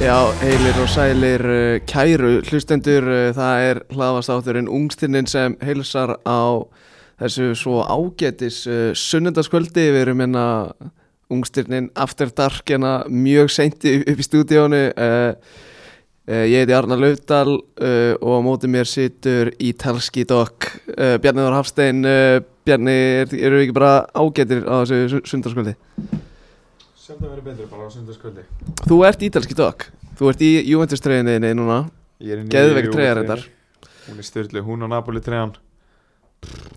Já, heilir og sælir uh, kæru hlustendur, uh, það er hlaðvastátturinn Ungstinninn sem heilsar á þessu svo ágætis uh, sunnundaskvöldi, við erum hérna Ungstinninn After Dark hérna mjög seinti upp í stúdíónu, uh, uh, ég heiti Arnar Laudal uh, og á móti mér situr í Talski Dokk, uh, Bjarni Þór Hafstein, uh, Bjarni er, eru við ekki bara ágætir á þessu su- sunnundaskvöldi? Sjaldan verið betur bara á sundarskvöldi Þú ert í Talski Dokk, þú ert í Juventus treyðinni núna Geðveik treyja reyndar. Hún er styrlu, hún og Napoli treyjan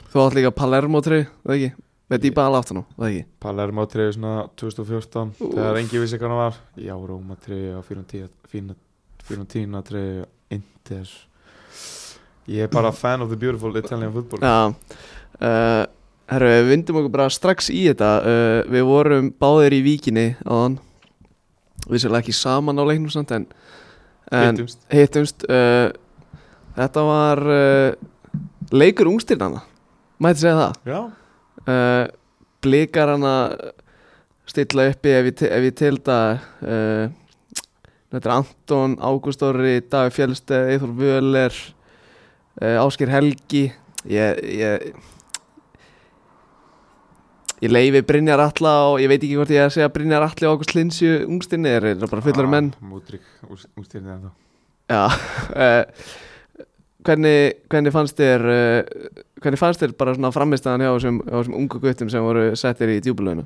Þú átt líka Palermo 3, það ekki? Með Dybala aftan á, það ekki? Palermo treyju svona 2014 Úff. Þegar engi vissi hvað hann var Já, Róma treyju á 410 treyju Inter Ég er bara fan of the beautiful Italian football Já, uh, herru, við vindum okkur bara strax í þetta uh, Við vorum báðir í víkinni áðan Við sérlega ekki saman á leiknum samt en, en Hittumst. hittumst uh, Þetta var uh, leikur ungstirnana, mætti segja það Já, uh, blikar hann að stilla uppi ef ég, te- ef ég til það uh, þetta er Anton, Ágúst Orri Davi Fjellsteð, Eithor Völer uh, Áskir Helgi ég ég, ég leifi Brynjar Atla og ég veit ekki hvort ég er að segja Brynjar Atli og Ágúst Linsju ungstinni er þetta bara Ah. fullar menn Múdrik, úrstyrni ennþá Já, uh, hvernig, hvernig fannst þér uh, hvernig fannst þér bara svona framistæðan hjá þessum, hjá þessum ungu guttum sem voru settir í djúbulögnu?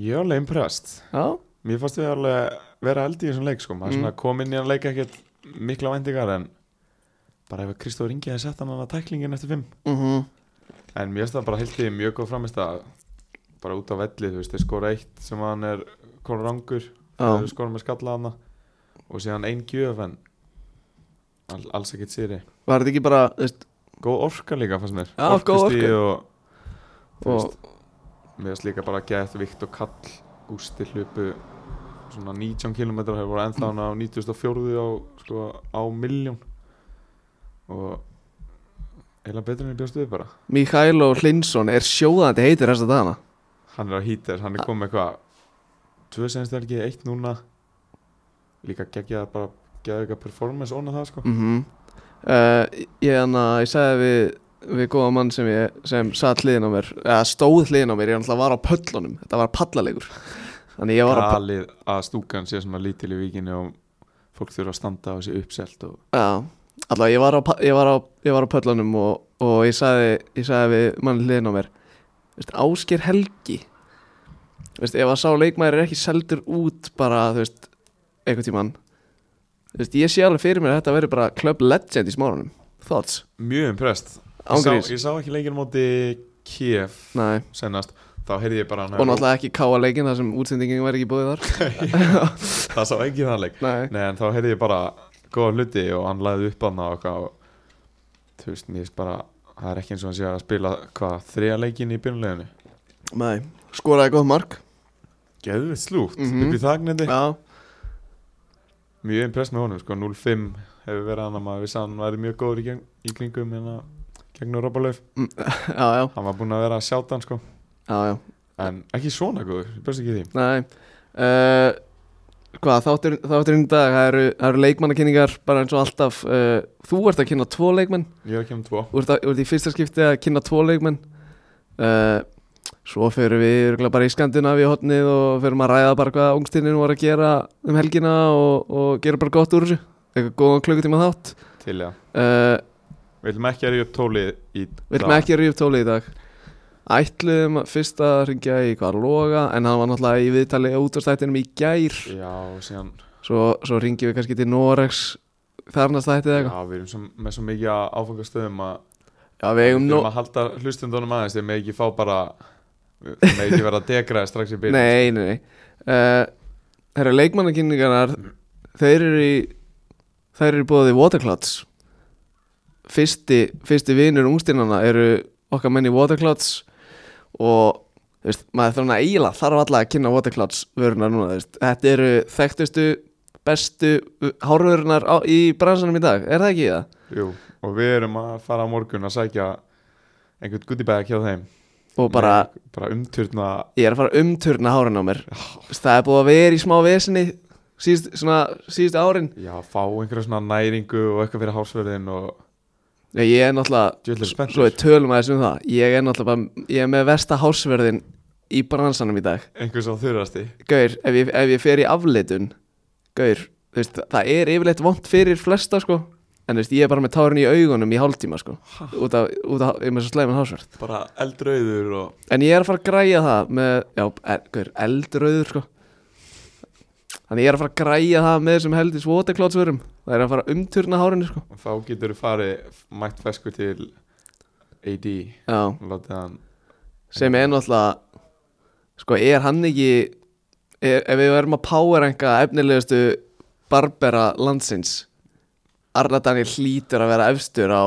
Ég er alveg impressed Já, Mér fannst við alveg vera held í þessum leik sko Maður Mm. svona kom inn í hann leik ekkert mikla væntingar En bara ef að Kristóður Ingi hefði sett hann að tæklingin eftir fimm mm En mér finnst það bara heilt í mjög góð framist að bara út á velli, þú veist, þeir skora eitt sem hann er konur rangur þeir já skora með skalla hana og síðan ein gjöf en all, alls ekkert sýri var þetta ekki bara þú veist, Góð orka líka fannst mér Já, góð Orkustig og, þú Og- veist, Mér finnst líka bara gett vikt og kall gústi hlupu svona 19 km hefur voru ennþá hann á 94 á, sko, á miljón og eiginlega betur en ég bjóst við bara Mikael og Hlinsson er sjóðandi heitir þess að dana hann er á Ah. hýtir, hann er komið með hvað tvö senstu helgi, eitt núna líka geggja bara geggja eitthvað performance onna það sko mm uh, ég, hana, ég sagði við við góða mann sem, ég, sem satt hliðin á mér eða stóð hliðin á mér, ég náttúrulega var á pöllunum þetta var pallalegur þannig ég var á pöllunum galið að stúkan sé svona lítil í vikinu og fólk þurfa að standa á þessi uppselt og Já, allavega ég var á, pa- ég var á, ég var á pöllunum og, og ég, sagði, ég sagði við mann hliðin á mér veist, Ásker Helgi veist, ef að sá leikmæður er ekki seldur út bara, þú veist, einhvern tímann þú veist, ég sé alveg fyrir mér að þetta verður bara club legend í smárunum Thoughts? mjög impressed ég sá, Ángurís? ég sá ekki leikinu móti Kiev Nei, senast þá heyrði ég bara hann og náttúrulega ekki káa leikin þar sem útsendingin var ekki búið þar það sá ekki þann leik Nei, Nei, en þá heyrði ég bara góða hluti og hann lagði upp hann og eitthvað og þú veist, mér finnst bara það er ekki eins og hann sé að spila hvað, þrija leikin í byrjuleginu nei, skoraði gott mark Geðvitt slútt, Mhm. upp í þagnandi Já, Mjög impress með honum, sko, 0-5 hefur verið hann að maður vissi að hann væri mjög góður í, geng, í kringum hérna gegnum Robbalöf, já, já, hann var búinn að vera að sjáta hann sko, já, já en ekki svona góður, ég best ekki í því Nei uh, Hvað, þáttur, þátturinn í dag Það eru, það eru leikmannakynningar bara eins og alltaf uh, Þú ert að kynna tvo leikmenn Ég er ekki um tvo Þú ert, að, þú ert í fyrsta skipti að kynna tvo leikmenn uh, Svo fyrir við örugglega bara í skandinavi hotnið og fyrir að ræða bara hvað ungstinnin var að gera um helgina og, og gera bara gott úr þessu eitthvað góðan klukkutíma þátt til já uh, Við viljum ekki að ríða upp tólið í Við erum dag. ekki að ríða upp tólið í dag Ætluðum að fyrst að ringja í hvað loga en hann var náttúrulega í viðtali útastættinum í gær Já, og síðan, Svo, svo ringjum við kannski til Norex þarnast þættið eða eitthvað. já, við erum svo, með svo mikið áfangastöðum að Já, við eigum Við no erum að halda hlustundunum aðeins Þeir með ekki fá bara Þeir með ekki vera að degra strax í byrjun Nei, nei, nei. Uh, herra, leikmannakynningarnar, þeir eru í, þeir eru búið í Waterclouds. Fyrsti, fyrsti vinur ungstinnana eru okkar menn í Waterclouds og, þú veist, maður þarf að eiginlega þarf alla að kynna Waterclouds vörunar núna, þú veist. Þetta eru þekktustu, bestu hárvörunar á, í bransanum í dag, er það ekki það? Jú, og við erum að fara á morgun að sækja einhvern goodiebag hjá þeim Og bara... Með- bara umturna Ég er að fara að umturna hárun á mér Það er búið að vera í smá vesinni síðust, svona, síðust árin Já, fá einhverja svona næringu og eitthvað fyrir hásverðin og Nei, ég er náttúrulega, djöldur svo spenntur við tölum aðeins um það ég er náttúrulega, bara, ég er með versta hásverðin í bransanum í dag einhver sá þurrasti Gaur, ef ég, ef ég fer í afleitun Gaur, þú veist, það er yfirleitt vond fyrir flesta, sko En þú veist, ég er bara með tárin í augunum í hálftíma, sko Út af, út af, ég er með svo slæman hásverð bara eldrauður og En ég er að fara að græja það með, já, er, gaur, eldrauður, sko Þannig ég er að fara að græja það með þessum heldis watercloudsvörum Það er að fara að umturna hárinu, sko og þá getur þú farið mætt fesku til AD Já, og látið hann sem er náttúrulega sko er hann ekki er, ef við verðum að powerenga efnilegustu barbera landsins Arla Daniel hlýtur að vera efstur á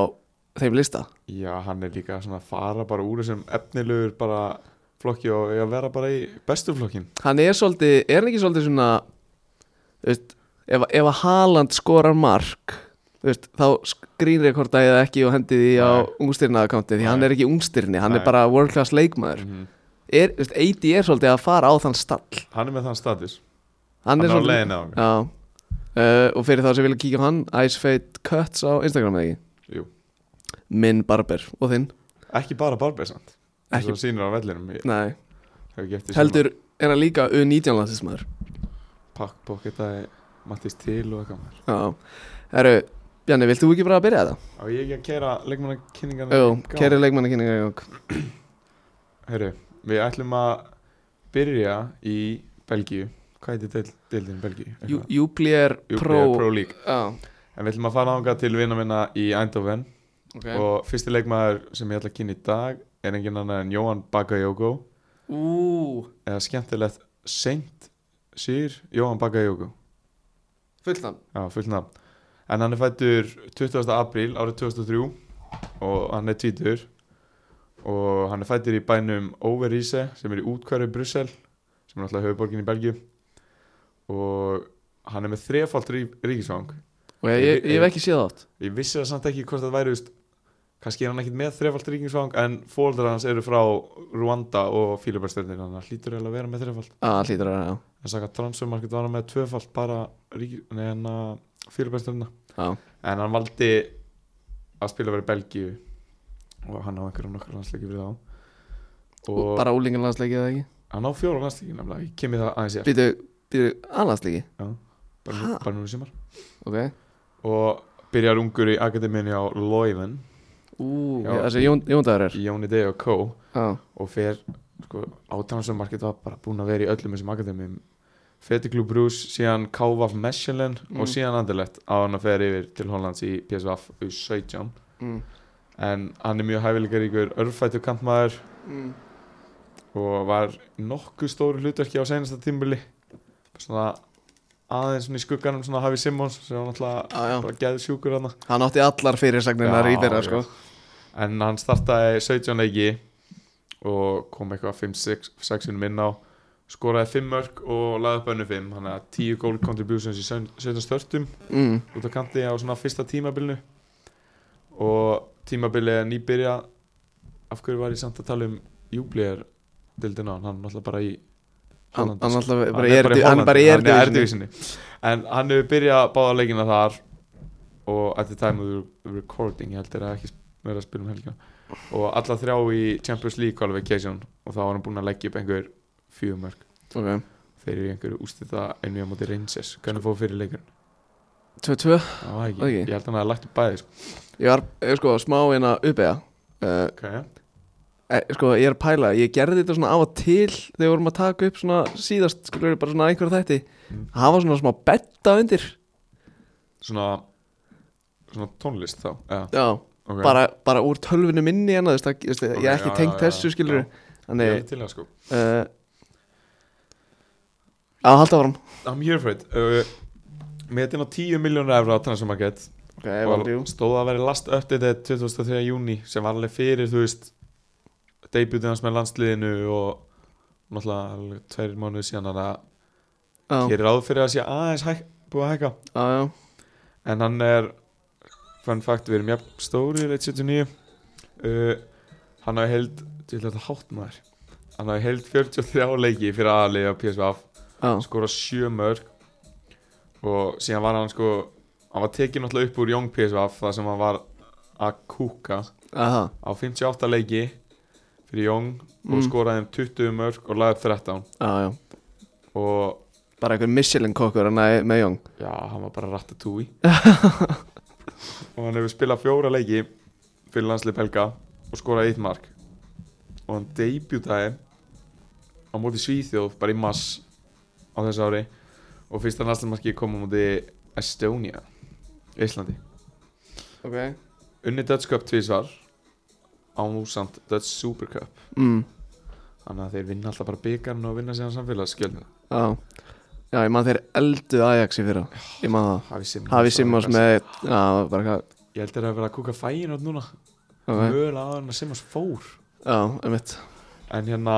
þeim lista já, hann er líka svona að fara bara úr þessum efnilegur bara flokki og eiga að vera bara í bestu flokkin hann er svolítið, er hann ekki svolítið svona þú veist, ef, ef að Haaland skorar mark þú veist, þá skrínrekorda ég það ekki og hendi því á Nei. ungstyrnaðakanti því hann Nei. er ekki ungstyrni, hann Nei. er bara world class leikmaður Mhm. er, þú veist, Eiti er svolítið að fara á þann stall hann er með þann status hann, hann er á svolítið- leiðinu á hann Já uh, Og fyrir þá sem vilja kíkja á hann Icefate Cuts á Instagram eða ekki Jú. Minn barber og þinn ekki bara barbersand eins Ekki- og hann sýnir á vellinum ég Nei hef ekki eftir Heldur er hann líka U19 landsinsmaður pakkbókitaði Mattis til og eitthvað maður Já Herru Bjarni, vilt þú ekki bara að byrja þetta? á ég ekki að kæra leikmannakynningarna Jú, í gang? kæri leikmannakynninga í gang Herru, við ætlum að byrja í Belgíu Hvað heitir deil- deildin í Belgíu? Jú- Jupiler Jú, Pro Pro League Já, En við ætlum að fara ánga til vina minna í Eindhoven ok Og fyrsti leikmaður sem ég ætla að kynna í dag Er engin annar en Jóhann Bakayoko Ú, Eða skemmtilegt Saint Sýr Jóhann Bakayoko fullt hann Já, fullna En hann er fættur 20. apríl árið 2003 og hann er títur og hann er fættur í bænum Overise sem er í útkværi Brussel sem er alltaf höfuborgin í Belgíu og hann er með þrefalt rí ríkisvang Ok, ég, ég hef ekki séð það átt Ég vissi það samt ekki hvort það væri veist, kannski er hann ekkit með þrefalt ríkisvang en fóldar hans eru frá Rwanda og Fílubærstöndin hann hlýtur eiginlega að vera með þrefalt Já, hann hlýtur að vera, en saka transfermarkið var hann með tvöfalt bara ríkis, neina Fílubærstöndina já Já, uh, en hann valdi að spila verið Belgíu og hann á einhverjum nokkar landsleiki fyrir þá og og bara úlingar landsleiki eða ekki hann á fjóra landsleiki nefnilega, ég kemur það aðeins ég Býtu, býtu, aðlandsleiki bara, nú- bara núna í sumar Ok og byrjar ungur í akademiðinni á Lóiven Ú, Já. þessi Jón- Jóndagur er í Jóni Dei og Co Já og fer sko, átánsummarkið var bara búin að vera í öllum þessum akademiðum Fetiklub Brús, síðan Kávaf Mechelen Mm. og síðan Anderlecht á hann að fer yfir til Hollands í PSV U17 mm. en hann er mjög hæfileikaríkur örfættu kantmaður Mm. og var í nokkuð stóru hlutverki á senasta tímbili svona aðeins svona í skugganum svona Hafi Simmons sem var náttúrulega Já, já. bara geðu sjúkur hana Hann átti allar fyrirsagninar Já, í fyrra já. sko en hann startaði 17 leiki og kom eitthvað 5-6 sinum inn á skoraði 5 mörg og laði upp önnu 5 hann að 10 goal contributions í 17 störtum mm. út af kanti á svona fyrsta tímabilinu og tímabilið er nýbyrja af hverju var ég samt að tala um júblíðar dildina hann, hann er náttúrulega bara í Hann, Hollandi, hann, sko. alltaf, bara Hann er er, bara í hann er bara í Hollandi, hann er erdivísinni erdivísinni en hann hefur byrjað báða leikina þar og at the time of the recording ég held er að ekki verið að spila um helgina og alla þrjá í Champions League qualification og þá var hann búinn að leggja upp einhver fjögumörk Ok, fyrir einhverju ústita einnig á móti Rangers hvernig fóðu fyrir leikur? 2-2 Það var ekki, Ekki. ég held hann að lagt upp bæði sko. Ég var eh, sko smá hérna uppega uh, okay. eh, Sko ég er að pæla Ég gerði þetta svona á og til Þegar við vorum að taka upp svona síðast Skulur bara svona einhverja þætti Mm. Hafa svona smá betta undir svona, svona tónlist þá ja, Já, okay. bara, bara úr tölvinu minni hérna, þú veist, það- þú veist, Ég Ok, er ekki já, tengt já, já, þessu skilur já. ég Þannig held til það sko uh, Já, halda áram I'm here for it uh, metin á 10 miljónur efra á transfermarkett Ok, valjú og stóð að vera last updated 23. júni sem var alveg fyrir þú veist debutið hans með landsliðinu og náttúrulega alveg tveir mánuði síðan þannig að Já, hér er áður fyrir að sé aðeins hæk, búið að hækka já, já en hann er fun fact við erum jafn stórir 179 uh, hann hafi held til þetta hátt maður hann hafi held 43 leiki fyrir aðalið á PSV Já, skora 7 mörg og síðan var hann sko hann var tekið náttúrulega upp úr Young PSV það sem hann var að kúka Aha, á 58 leiki fyrir Young Mm. og skoraði um 20 mörg og lagði upp 13 já, já og Bara einhver Michelin kokkur hann að- með Jón Já, hann var bara ratatúi Og hann hefur spilað fjóra leiki Fyrir landslið Belga Og skoraði eitt mark Og hann debutaði Á móti Svíþjóð, bara í mass Á þessu ári Og fyrsta landslið kom á móti Estonia Íslandi Ok Unni Dutch Cup tvísvar Ánúsamt Dutch Super Cup mm, Þannig að þeir vinna alltaf bara byggarn og vinna síðan samfélagsskjöldu Já, já ég man þeir eldu Ajax í fyrra Ég man það Hafi Simmons Hafi Simmons með Já, bara hvað Ég held þeir að vera að kúka fæin átt núna Ok, Mögulega að hann að Simmons fór já, einmitt En hérna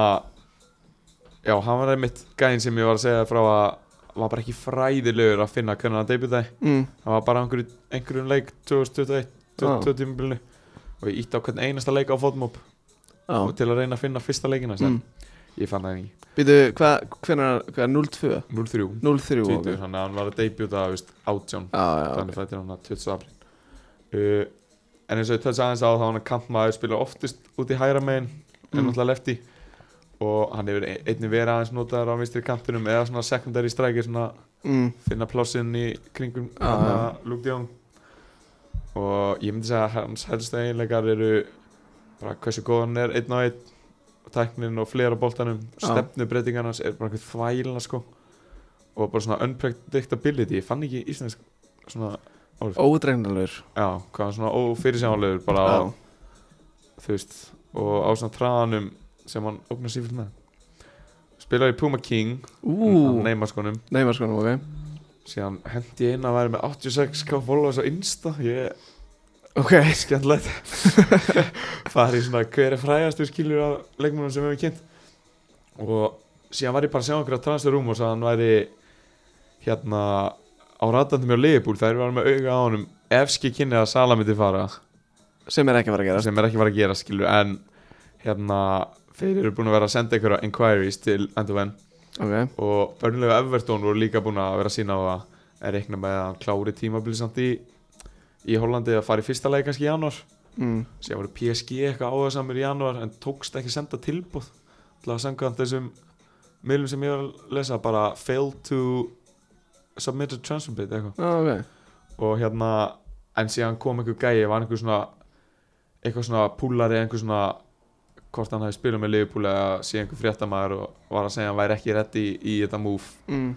Já, hann var einmitt gæðin sem ég var að segja frá að var bara ekki fræðilegur að finna hvernig hann debutaði mm, hann var bara á einhverju, einhverjum leik 2021, 2020 og ég ítti á hvern einasta leik á fótmop Já, og til að reyna að finna fyrsta leikina mm. mm. ég fann það ekki, býtu, hvað, hvernig, hvað, 0-2? 0-3 0-3 ok. 20, þannig að hann var að debuta veist, 18, Já, já, ok. þannig fættir hann að 20 apríl uh, en eins og ég tötsa aðeins á þá hann er kantmaður spila oftist út í hægra megin en Mm. náttúrulega lefti og hann hefur e- einnig verið aðeins notaður á vinstri kantinum eða svona secondary striker svona mm, finna plássinn í kringum Já, ah. Luke Young og ég myndi segja að hans helstu eiginleikar eru bara hversu góð hann er einn á einn tæknin og fleira boltanum Já. stefnubreitingar hans er bara einhver þvælina sko og bara svona unpredictability ég fann ekki íslensk svona Ódregnalur já, hvað hann svona ófyrirsjánulegur bara á Já, þú veist og á svona traðanum sem hann ógnar sífilt með spilaði í Puma King ú, neymar skonum neymar skonum, ok síðan hendi ég inn að vera með 86k followers á Insta ég Ok, er skemmtilegt farið í svona hver er frægastu skilur af leikmennum sem við hefum kynnt og síðan var ég bara að sjá einhverja transferum og sagði hann væri hérna á ratandi mjög leifbúl þær var með auga á honum efski kynnið að Sala myndi fara sem er ekki að fara að gera sem er ekki fara að gera skilur en hérna þeir eru búin að vera að senda einhverja inquiries til Endoven Ok, og Börnlega Evertón voru líka búin að vera að sína á það en reikna með að hann klári tímabili samt í í Hollandi að fara í fyrsta leik kannski í janúar mm, síðan voru PSG eitthvað áhersamur í janúar en tókst ekki að senda tilbúð til að sanga þessum miðlum sem ég var að lesa bara fail to submit a transfer bid eitthvað já, ok og hérna en síðan kom einhver gæi var einhver svona eitthvað svona púlari einhver svona hvort hann hafi spilað með Liverpool eða síðan einhver fréttamaður og var að segja að hann væri ekki reddi í, í þetta move mm,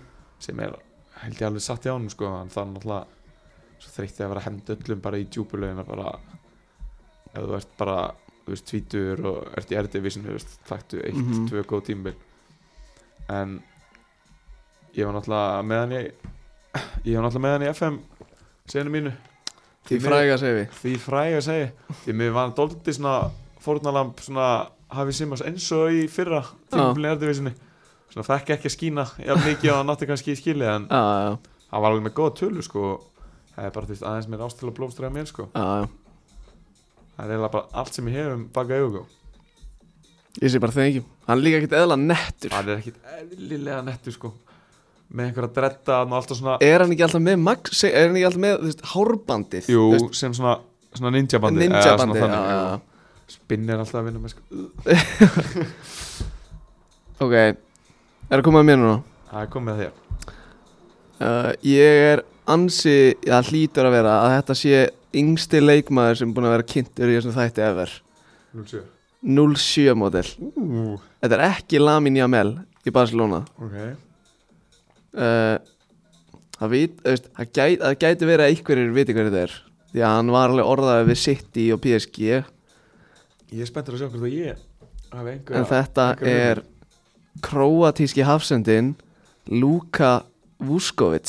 sem er held ég alveg satt í ánum sko en það er náttúrulega svo þreytti að vera hemmt öllum bara í djúbulögin að bara ef þú ert bara þú veist tvítur og ert í erdivisinu þú veist taktu eitt, Mhm. tvö góð tímbil en ég var náttúrulega meðan ég ég var náttúrulega meðan í FM seginu mínu Því fræga segir við því fræga segi því mér var hann doldið svona fórnalamb svona hafið simmast eins og í fyrra tímbilin erdivisinu svona fekk ekki að skína jafn mikið og hann nátti kannski í skili en Já, já, já, hann var alveg með góða tölu sko það er bara þú veist aðeins mér ástæðilega blómstræða mér sko já, já það er eiginlega bara allt sem ég hef um baka auðgó Ég sé bara þengi Hann er líka ekkert eðla nettur hann er ekkit eðlilega nettur sko með einhverja dretta og alltaf svona Er hann ekki alltaf með Max, se- er hann ekki alltaf með, þú veist, hárbandið jú, þú veist, sem svona, svona ninja bandi Ninja bandið já, já, já. spinn er alltaf að vinna með sko Ok, er að koma að mér núna? það er komið að þér Uh, ég er ansi, það hlýtur að vera að þetta sé yngsti leikmaður sem búin að vera kynntur í þessum þætti ever 07 07 model Ú, Þetta er ekki Lamin Jamel í Barcelona ok uh, Það vit, þú veist, það gæti, það gæti verið að einhverjir viti hvernig þetta er Því að hann var alveg orðaði við City og PSG ég er spenntur að sjá hvort að ég hafi einhverja En þetta einhverja er kroatíski hafsendin Luka Vuskovic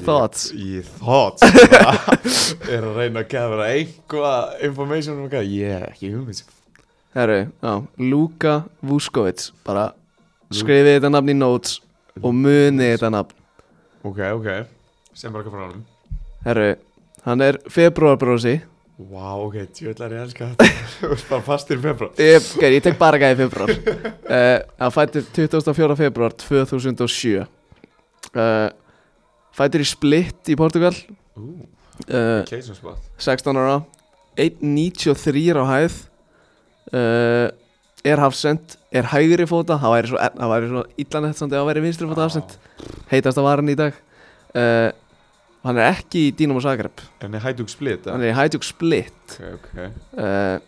Thoughts Í thoughts bara, Er að reyna að gefa einhvað information um hvað Ég er ekki hugmynd Herru, já, Luka Vuskovic Bara skrifið þetta nafn í notes Og munið þetta nafn Ok, ok Sem bara eitthvað frá hann Herru, hann er februarbrósi Vá, wow, ok, djöðlar ég elska þetta Þú ert bara fastir með bara Ég, okay, Eh, ég tek bara gæði februar uh, Hann fættur 24. februar 2007 uh, Fætur í Split í Portugal Ú, uh, Cajun spot 16 ára 1.93 á hæð uh, er hafsend er hægri fóta, það væri svo, það væri svo illanett samt ef það væri vinstri fóta hafsend heitast að varan í dag uh, hann er ekki í Dínamo Zagreb Ah, En er hætug split, hann eða? er í Hajduk Split Ok, ok uh,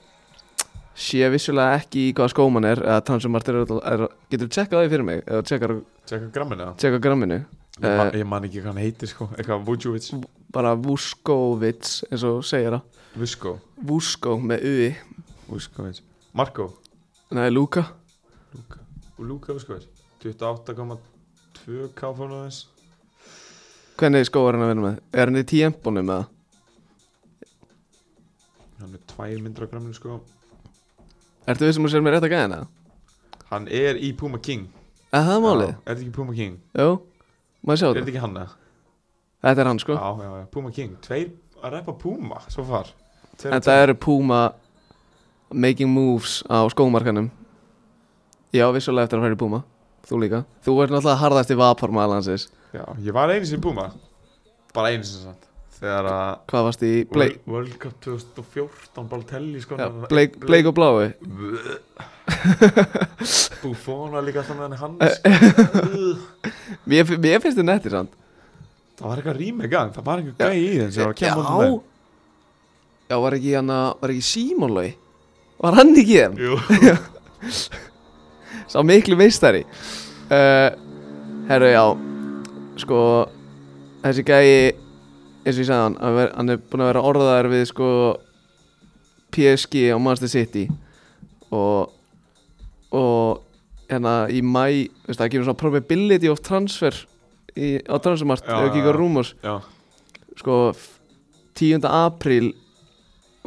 sé vissulega ekki í hvaða skóm hann er eða transumart er, er getur þú tjekkað það fyrir mig eða tjekkar, Tjekka grammin eða? tjekkar gramminu Ég, man, Eh. ég man ekki hvað hann heitir sko Eitthvað Vujovic bara Vuskovic eins og segir það Vusko Vusko með Ui Vuskovic Marko Nei, Luka Luka Og Luka Vuskovic 28,2 káfónu aðeins Hvernig skó er hann að vinna með? Er hann í tíempunum eða? Hann er tvær myndir á gramminu sko Ertu við sem að sér mér rétt að gæðina? Hann er í Puma King Er það málið? Já, Er þetta ekki Puma King? Jú, maður sjá Er það þetta ekki hann eða? Þetta er hann sko Já, já, já Puma King Tveir að repa Puma Svo far Tveir Þetta eru Puma making moves á skómarkanum Já, vissulega eftir að fara í Puma Þú líka Þú ert náttúrulega harðast í vapor maður landsins Já, ég var einu sinni í Puma Bara einu sinni samt Þegar að Hvað varst í Blake, World- World Cup 2014 Balotelli sko já, Blake, Blake og Blái Buffon var líka alltaf með hann í Eh. hans Mér, fi- mér finnst þið nettir samt Það var eitthvað rými gang Það var eitthvað gæi í þeim sem var að kemja Já Já, var ekki hann að, var ekki Simon Lói Var hann ekki í þeim? Jú Sá miklu meistari uh, Herru, já Sko, þessi gæi eins og ég sagði hann hann ver- hann er búinn að vera orðaðar við sko PSG og Manchester City og og hérna í mæ veist, það gefur svona probability of transfer í, á transfermart Já, ef ekki já, ekki já. rúmurs Já sko f- 10. apríl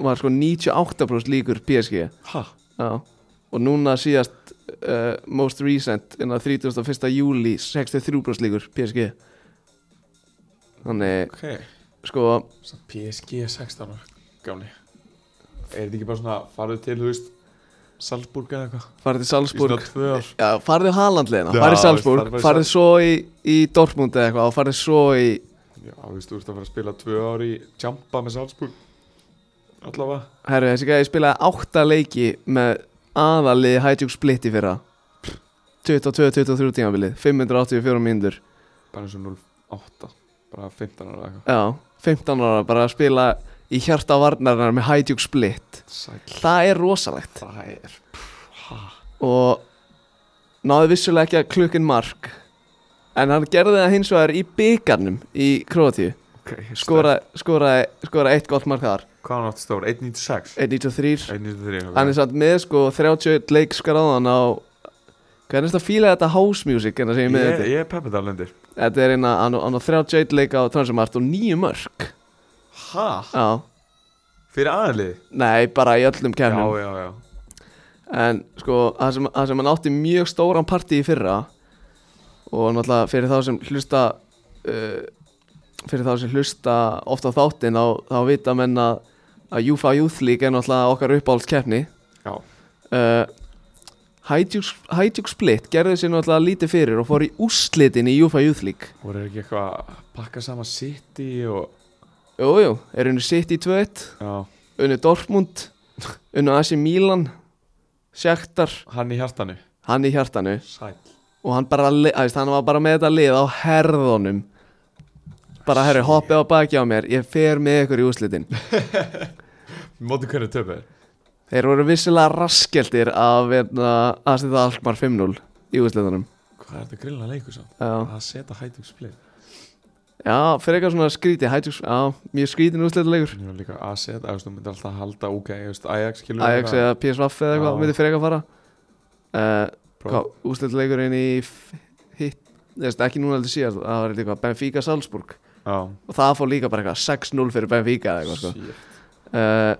var sko 98% líkur PSG Ha Já, og núna síðast uh, most recent innan 31. júli 63 brúslíkur PSG Þannig, Ok sko, Svo PSG 16 ára Gáni Er þetta ekki bara svona Farðu til, þú veist Salzburg eða eitthvað farið til Í svona Salzburg tvö ár Já, farið á Haalandleina, Já, farið til farið- Salzburg farið- farið svo í, í Dortmund eða eitthvað og farið svo í, Já, þú veist, þú veist að fara að spila tvö ár í Champa með Salzburg Allavega herru, þessi gæði spilaði átta leiki með aðalið Hajdúk Split í fyrra 22-23 tímabilið 584 mínútur Bara eins og 0-8 Bara 15 ára eða eitthvað Já, 15 ára bara að spila í hjarta varnarinnar með Hajdúk Split Sæl Það er rosalegt Það er og náði vissulega ekki að klukkin mark en hann gerði það hins vegar í byggarnum í Kroatíu okay, skoraði skora, skora eitt gott mark þar Hvað er náttúrulega stór? 1.96? 1.93 1.93 ok. hann er satt með sko 31 leik skráðan á hvernig er þetta fíla þetta house music hérna sem ég er með Ég, ég er peppið af lendir þetta þetta er eina hann á- hann á 31 leik á transumart og nýju mörk Hæ? já Fyrir aðlið? nei bara í öllum Já, kemnum já, já En sko, það sem, það sem hann átti mjög stóran partí í fyrra og náttúrulega fyrir þá sem hlusta uh, fyrir þá sem hlusta ofta á þáttinn á, þá vita menn að, að UFA Youth League er náttúrulega okkar uppáhaldskeppni Já, uh, Hætjúk Split gerði sér náttúrulega lítið fyrir og fór í úrslitin í UFA Youth League voru þeir ekki eitthvað að pakka saman City og Jújú, jú, er unni City 2-1 Já, unni Dortmund unni AC Milan Sjæktar, hann í hjartanu hann í hjartanu Sæl og hann bara, le- æst, hann var bara með þetta lið á herðunum bara herri, hoppið á baki á mér ég fer með ykkur í úslitin Móti hvernig töpur þeir voru vissilega raskeltir af aðstæða Alkmaar 5-0 í úslitunum Hvað er þetta grilla leikur samt? já, Að setja hætug split já fyrir eitthvað svona skríti hættu, já, mjög skrítin úslituleikur Ég var líka að setja, þú veist, þú myndir alltaf að halda OK, þú veist, Ajax kilur Ajax eða PSV eða Já. eitthvað, myndi fyrir eitthvað fara uh, Próf, úslituleikurinn í f- hitt, þú veist, ekki núna heldur síðast það var eitthvað Benfica Salzburg Já, og það fór líka bara eitthvað 6-0 fyrir Benfica eða eitthvað sko. shit Eh,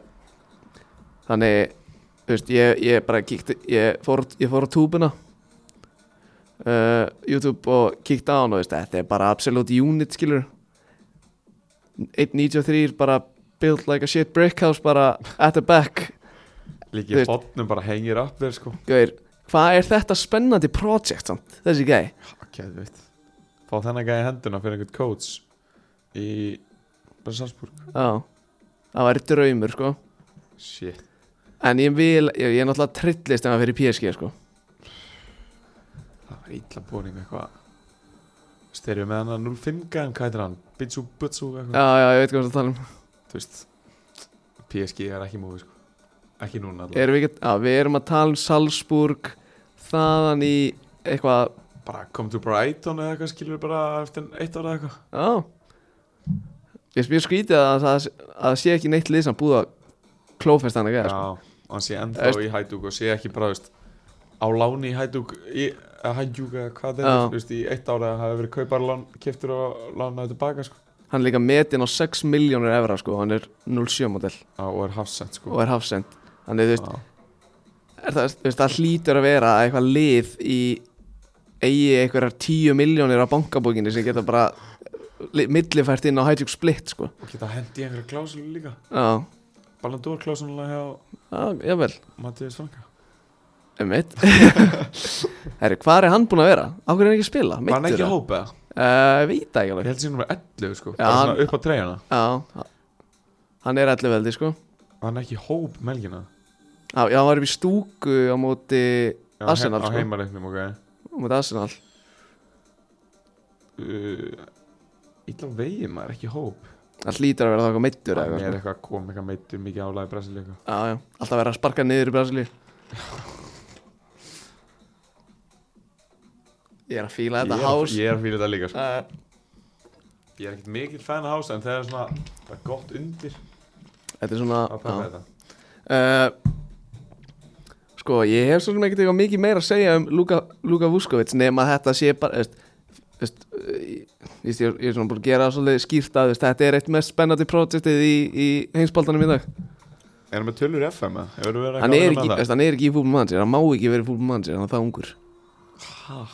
þannig þú veist, ég, ég bara kíkti ég fór, ég fór á túbuna uh, YouTube og kíkti á hann og þú veist, þetta er bara absolute unit skilur 1.93 bara built like a shit brick house bara at the back Þú Líki veist- botnum bara hengir upp þér sko Gauir, hvað er þetta spennandi project samt, þessi gæ Ok, þú veit fá þennan gæði henduna fyrir einhvern coach í bara Salzburg Já, það væri draumur sko shit, En ég vil, ég, ég er náttúrulega trillist en það fyrir PSG sko það var illa búning eitthvað styrjum með hann að 05 gæðan, hvað heitir hann Bitsu Butsu eitthvað, Já, já, ég veit hvað það tala um þú veist PSG er ekki múið sko ekki núna allavega, Erum við, ekki, já, við erum að tala um Salzburg þaðan í eitthvað bara come to Brighton eða eitthvað skilur bara eftir eitt ára eitthvað Já Ég spyr skrítið að það að það sé ekki neitt lið sem búið að klófest hann að gæða sko. Já, og hann sé ennþá Veist- í hættúk og sé ekki bara, veist, á láni í hættúk í að hættúk eða hvað það Já. er, þú veist, í eitt ára að hafa verið kauparlán, keftur og lánaði tilbaka, sko, Hann er líka metinn á 6 miljónir evra sko, hann er 07 modell á, og er hafsend, sko. og er hafsend Þannig þú veist, Já. er það, þú veist, það hlýtur að vera að eitthvað lið í eigi einhverjar 10 miljónir á bankabókinni sem geta bara li- millifært inn á Hajduk Split sko. Og geta hendi í einhverja klásulu líka, Já, Ballandór klásululega hjá já, jável Mattias Franka. um mitt Herri, hvað er hann búinn að vera? Á hverju er hann ekki að spila? Var hann ekki Meiddur, eða? hópað? Eh, veit það ekki Ég alveg held sínum að 11, sko, Já, bara hann- svona upp á treyjana. Já, hann er allir veldi sko Var hann ekki hóp um melgina? Já, já, hann var upp í stúku á móti Já, Arsenal, he- sko. Á heimareiknum, ok. á móti Arsenal Uh, Ítla vegið maður, ekki hóp. Það hlýtur að vera það eitthvað meittur Hann eða er eitthvað sko. eitthvað kom, eitthvað meittur, mikið álæði Brasilíu, eitthvað. Já, já, alltaf vera að sparka niður í Brasilíu Ég er að fíla Ég þetta er- hás Ég er að fýla þetta líka, sko. uh, Ég er ekkert mikill fan af hása en það er svona, það er gott undir Þetta er svona að pæla þetta. uh, Sko, ég hef svona ekkert eitthvað mikið meira að segja um Luka, Luka Vuskovic nema að þetta sé bara veist, veist, eh, ég, víst, ég, ég er svona búin að gera það svolítið skýrt að veist, þetta er eitt mest spennandi projektið í, í heimsbaldanum í dag Er hann með tölur í FM eða? Hefur þú verið hann er, ánægður ekki, með veist, hann er ekki í fútbol mannsir hann má ekki verið fútbol mannsir, hann er það ungur það?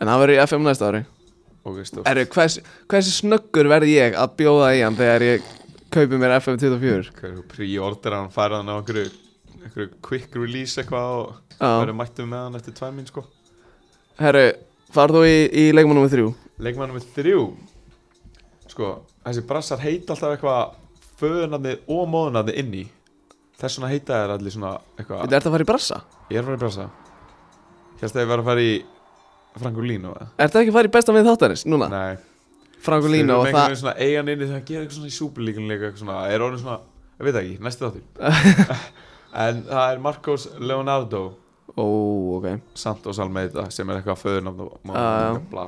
en hann verður í FM næsta ári Ok, stór. Erru, hvers, hversu snöggur verð ég að bjóða í hann þegar ég kaupi mér FM 24 Hvað er þú pre-order hann færið hann á einhverju, einhverju quick release eitthvað og Já. verður mættum með hann eftir tvær minn sko. herru, far þú í, í leikmann nr. 3 Leikmann með þrjú. Sko, þessi brassar heita alltaf eitthvað föðunarnið og móðunarnið inni. Þess vegna heita þér allir svona Þetta eitthvað. ert að fara í brassa? Ég er að fara í brassa. Hérst að ég var að fara í Frankulínu eða? Ert það ekki að fara í besta með þáttarins núna? Nei. Frangolino og Þeir eru með einhvern það veginn svona eigan inni þegar að gera eitthvað svona í súperlíkun líka eitthvað svona, er orðin svona, ég veit það ekki, næstu þáttur En það er Marcos Leonardo Ó, ok Santos Almeida sem er eitthvað föðurnafn og má- Ah, Já, já. bla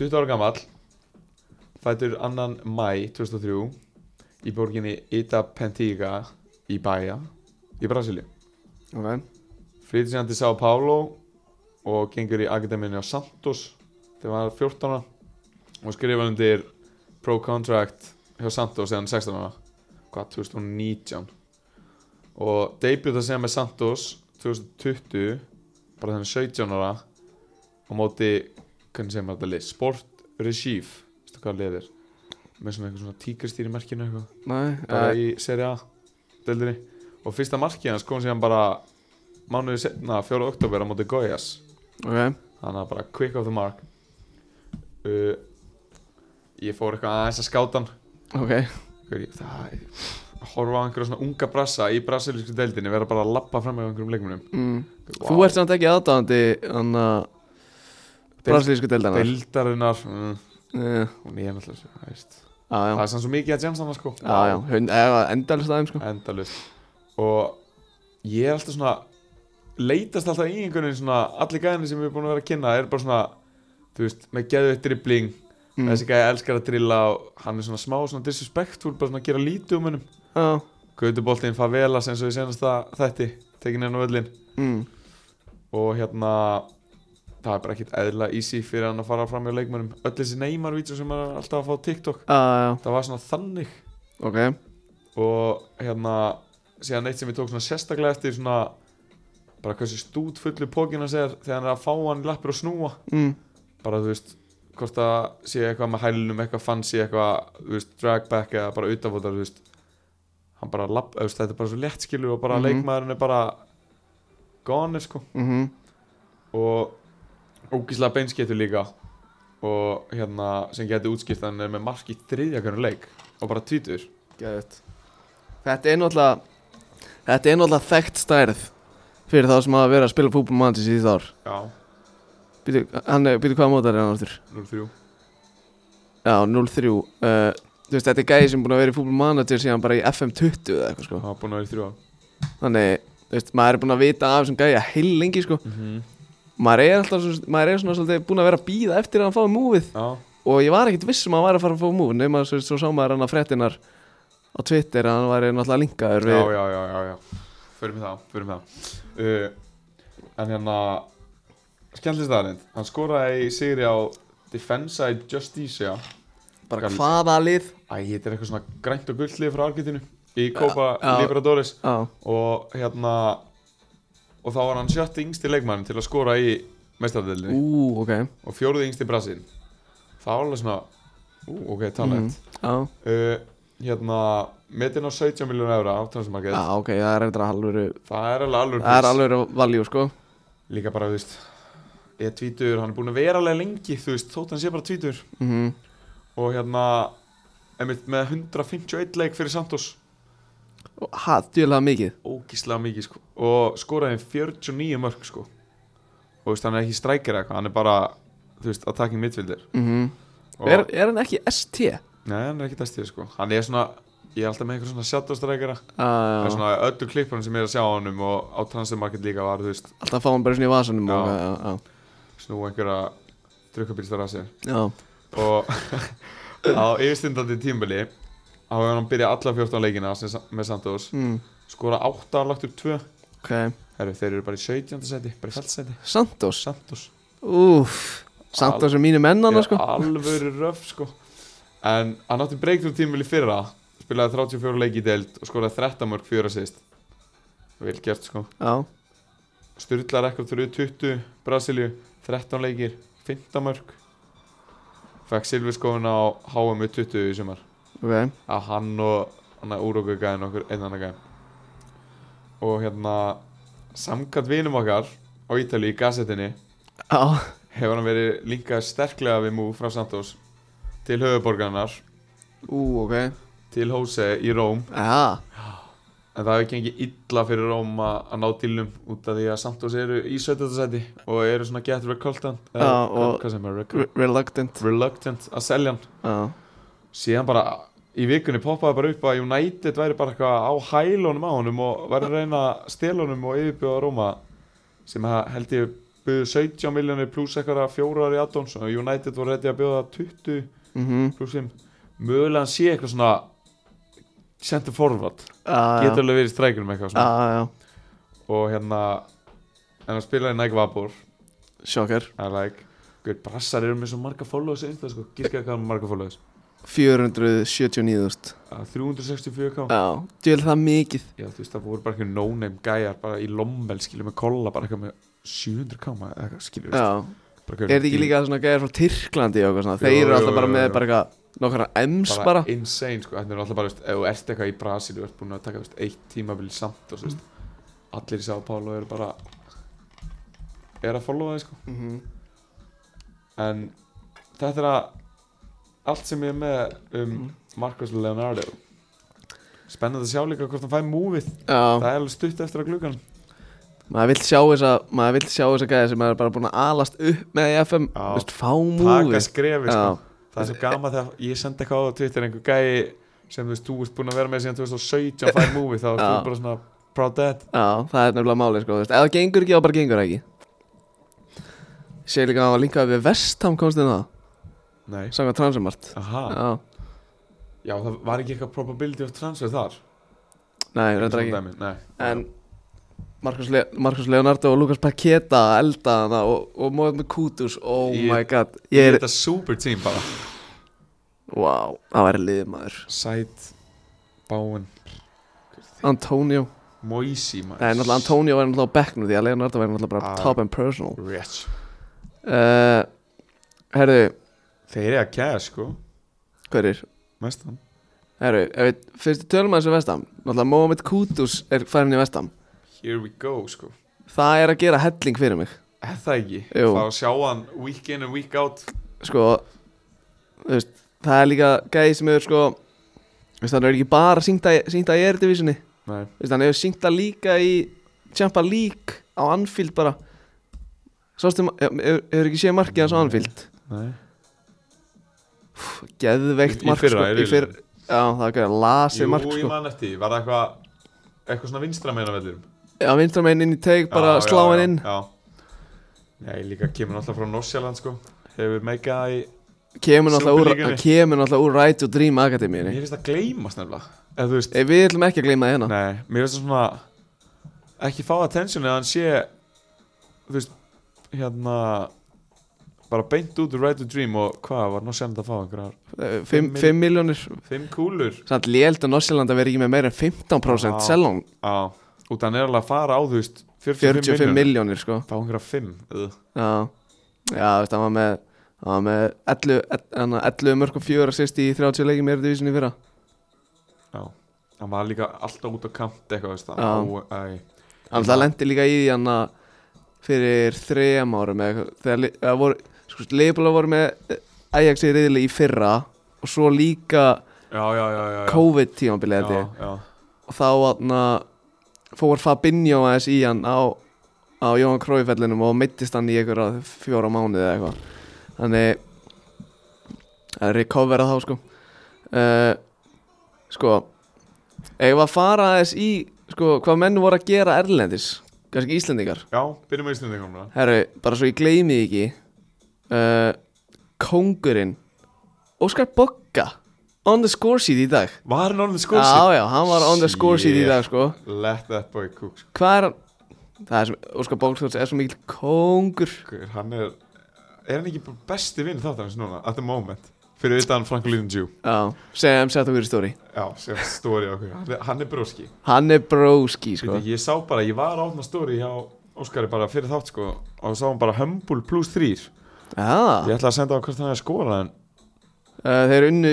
20 ára gamall Fætur annan mæ 2003 í borginni Itapentiga í Bæja í Brasilíu Ok, Flytur síðan til Sao Paulo og gengur í Akademíunni á Santos þegar hann var 14 ára og skrifar undir pro contract hjá Santos þegar hann er 16 ára hvað, 2019 og debuta síðan með Santos 2020 bara þannig 17 ára á móti, hvernig segir maður þetta lið Sport Recife, veistu hvað liðið er með svona eitthvað svona tíkristýri merkinu eitthvað nei bara eh, í Serie A deildinni og fyrsta markið hans kom síðan bara mánuði setna, 4. oktober á móti Goyas Ok, þannig að bara quick off the mark uh, ég fór eitthvað aðeins að skáta hann ok Hver, ég, það, að horfa á einhverja svona unga brassa í brasilísku deildinni, vera bara að lappa fram með einhverjum leikmunum mm. Þú ert samt ekki aðdáðandi hann að brasilísku deildana Já, deildarinnar mm, já, hún er náttúrulega þú veist. það ah, já, Ah, er sann svo mikið að Jensana sko já, já Endalist aðeim sko endalust og ég er alltaf svona leitast alltaf í einhvern veginn svona allir gæðinni sem við erum búin að vera að kynna er bara svona þú veist, með geðveitt dribbling Mm. þessi gæði elskar að drilla og hann er svona smá svona disrespectful, bara svona að gera lítið um hennum Ah, Já, Gautuboltinn favelas eins og við senast það þætti tekin enn á völlin mm. og hérna það er bara ekkit eðla easy fyrir hann að fara fram með leikmönnum öll þessi Neymar-vídeó sem er alltaf að fá á TikTok já, Ah, já, það var svona þannig ok og hérna síðan eitt sem ég tók svona sérstaklega eftir svona bara hversu stút fullu pókin hans er þegar hann er að fá hann í lappir og snúa mm. bara þú veist hvort að sé eitthvað með hælunum eitthvað fancy eitthvað þú veist drag back eða bara utafótar þú veist hann bara lapp þú veist þetta er bara svo létt skilur og bara Mhm. leikmaðurinn er bara gone sko Mm og ógísla beinskettur líka og hérna sem geti útskipt að hann er með mark í þriðja hvernig leik og bara tvítur Gæðut Þetta er náttúrulega Þetta er náttúrulega þekkt stærð Fyrir þá sem hafa verið að spila fútbol mannsins í þár Já, Býtu, hann er, býtu hvaða mótar er hann aftur? 0-3 Já, 0-3 uh, Þú veist, þetta er gæði sem búin að vera í fútbol manager síðan bara í FM20 eða eitthvað sko og hafa búin að vera í þrjú ár Þannig, þú veist, maður er búin að vita af þessum gæði að heil lengi sko Maður er alltaf, svo- maður er svona svolítið búin að vera að býða eftir að hann fái múfið Já, Og ég var ekkit viss um að hann væri að fara að fá múf Nefnum að svo, svo sá maður hann að frettinar á Twitter að hann væri náttúrulega linkaður já, við já, já, já, já. Förum í það, förum í það uh, En hérna Skemmtist aðeins Hann skoraði í sigri á Defensa í Justicia bara Skal- hvaða lið Æ, þetta er eitthvað svona grænt og gulllið frá Argentinu Í Copa já. Libertadores Já, og hérna og þá var hann sjötti yngsti leikmann til að skora í mestardelinni ú, ok og fjóruði yngsti Brasil það var alveg svona ú, ok, talent Mhm. Já, uh, hérna, metin á 17 miljónu eura á transmarkið, já ok, það er eitthvað alvöru það er alveg alveg Það er pís. alvöru valjú, sko líka bara, þú veist ég tvítur, hann er búin að vera alveg lengi þú veist, þótt hann sé bara tvítur mm og hérna, einmitt með 151 leik fyrir Santos Og Ha, djúlega mikið ógíslega mikið sko. og skoraði 49 mörg sko. og þú veist, hann er ekki strækir eitthvað, hann er bara þú veist, attacking midfielder mm og, er, er hann ekki ST? nei, hann er ekki testið sko. hann er svona, ég er alltaf með einhver svona shadow strækira, það Ah, er svona... svona öllu klippunum sem ég er að sjá á honum og á transfermarket líka var, þú veist, Alltaf fá hann bara svona í vasanum Já. og, já, já, snú einhverja drukkabílstara að sér já. og á yfirstundandi tímbili þá hefur hann byrjað alla 14 leikina sem, með Santos, Mm, skora 8 lagt upp 2, Ok, Heru, þeir eru bara í 17. seti, bara í feldsæti Santos Santos Úff, Santos er mínu mennana, sko er alvöru röf sko en hann átti breakthrough tímil í fyrra spilaði 34 leiki í deild og skoraði 13 mörg fjóra sýst vel gert sko Já, styrlar ekkert fyrir 20 Brasilíu 13 leikir 15 mörg fekk silfiskóðuna á HM 20 í sumar ok að hann og hann að úróku gæðin okkur einn annan gæðin og hérna samkvæmt vinum okkar á Ítali í gassetinni Já, hefur hann verið linkað sterklega við múf frá Santos til höfuborgarnar, ú, ok til Hose í Róm Já, en það hefur gengið illa fyrir Róm að að ná tilum út af því að Santos eru í 17. seti og eru svona get reluctant Já, og- Eh, hvað sem er re- reluctant, reluctant reluctant að selja hann Já, síðan bara í vikunni poppaði bara upp að United væri bara eitthvað á hælunum á honum og væri að reyna að stela honum og yfirbjóða Róma sem að held ég buðu 17 miljonir pluss eitthvað fjórar í addons og United voru reyndi að bjóða 20 mhm pluss 5 mögulega hann sé eitthvað svona center forward Já, já. getur alveg verið strækjur með Já, eitthvað svona já, og hérna en hann spilaði Nike Vapor sjokkar I like Guð, brassar eru með svo marga followers einstaklega sko gískaði hvað er með marga followers 479.000 Að 364k Já, djúlega það mikið já þú veist það voru bara einhver no-name gæjar bara í lommel skilur með kolla bara eitthvað með 700k ma- eða eitthvað skilur veist, Já, bara eitthvað- Er þetta ekki líka svona gæðir frá Tyrklandi og eitthvað svona? Jú, Þeir eru jú, alltaf bara jú, með jú. bara eitthvað nokkara ems bara, bara insane sko þetta er alltaf bara veist, ef þú ert eitthvað í Brasil þú ert búin að taka veist, eitt tímabil samt og veist, allir í São Paulo eru bara er að followa þig sko Mhm. en þetta er að allt sem ég er með um Marcos Leonardo spennandi að sjá líka hvort hann fæ múfið það Já, er alveg stutt eftir að gluggan maður vill sjá þessa maður vill sjá þessa gæði sem maður er bara búin að alast upp með í FM, Já. þú veist, fá taka múfi skrefi Já. sko. það er svo gaman þegar ég sendi eitthvað á Twitter einhver gæi sem þú veist þú ert búin að vera með síðan 2017 fæ múfið þá er Já. þú bara svona proud dad Já, það er nefnilega málið sko, þú veist, eða gengur ekki þá bara gengur það ekki Sér líka að hann var linkaði við Vestham komst inn á það, nei sanga transumart Aha. Já, Já, það var ekki eitthvað probability of transfer þar nei, reyndar ekki dæmi, Nei, En Markus, Le Markus Leonardo og Lukas Paqueta elda hana og, og móðið með Kutus, oh Ég- my god ég Ég er, Þetta super team bara vá, það væri liðið maður Sæt, Báin, Antonio Moisi Nei, náttúrulega Antonio væri náttúrulega á bekknu því að Leonardo væri náttúrulega bara Ah. top and personal Rich uh, Herðu, Þeir eru að kæða sko, hverjir? mestan Herðu, ef við fyrst tölum að þessu vestam Náttúrulega Mohamed Kutus er færin í vestam Here we go sko Það er að gera helling fyrir mig Er það ekki? Jú. Fá að sjá hann week in and week out sko þú veist, það er líka gæði sem hefur sko þú veist, hann er ekki bara syngt að, syngt að ég er divisinni Nei, veist, hann hefur syngt að líka í Champa League á Anfield bara Sástu, ma- hefur hefur ekki séð markið hans á Anfield nei geðveikt Í- í mark fyrra, sko, í í fyrra, já það var ekki að lasið mark Jú, ég sko. man eftir, því. var það eitthvað eitthvað svona vinstra meina vellurum já, vinstra meginn inn í teig bara Já, slá já, hann inn já, já. Nei, líka kemur náttúrulega frá Norsjaland sko Hefur meikað það í kemur náttúrulega úr, Superlíkunni. hann kemur náttúrulega úr Right to Dream Akademíunni Mér finnst það gleymast nefnilega Eða þú veist Eh, við ætlum ekki að gleyma það hérna Nei, mér finnst það svona Ekki fá attention eða hann sé Þú veist, hérna Bara beint út úr Right to Dream Og hvað, var Norsjaland að fá einhverjar 5, Fimm mil- 5 miljónir Fimm kúlur samt lélt að Norsjöland að vera ekki með meira en 15% Já. selong Já, út hann er alveg að fara á þú veist 45, 45 miljónir miljónir sko Fá einhverjar fimm uh. já, já veist, hann var með hann var með 11, 11, 11 mörg og 4 assist í 30 leikum er divisinni fyrra Já, hann var líka alltaf út á kant eitthvað, veist það Já. Á, æ, hann það lendi líka í því hann að fyrir þrejum árum eða eitthvað, þegar Li- eða voru sko, leifbúlega voru með eh, Ajax í reyðli í fyrra og svo líka Já, já, já, já, já. COVID tímabilið held já, ég. já. og þá atna, fór Fabinho aðeins í hann á, á Jóhann Króifellinum og meittist hann í einhverja fjóra mánuði eða eitthvað þannig að recovera þá sko uh, sko eigum við að fara aðeins í sko, hvað menn voru að gera erlendis kannski Íslendingar já byrjum með Íslandi komna herru, bara svo ég gleymi því ekki uh, Kongurinn Óskar Bogga on the score sheet í dag Var hann orðin Já, skósi? Já, já, hann var on the score sheet í dag sko Let that boy cook sko. Hvað er hann? Það er sem, Óskar Bókstofs er svo mikil kongur Hver- Hann sko. er, er hann ekki bara besti vinn þáttarins núna At the moment Fyrir utan Franklin Jew Já, sem sett okkur í stóri Já, sem stóri okkur Hann er, hann er broski Hann er bróski, sko Veitir, Ég sá bara, ég var átna stóri hjá Óskari bara fyrir þátt sko Og sá hann bara Humble plus 3 Ég Já, ætla að senda á hvort hann er skora En uh, þeir unnu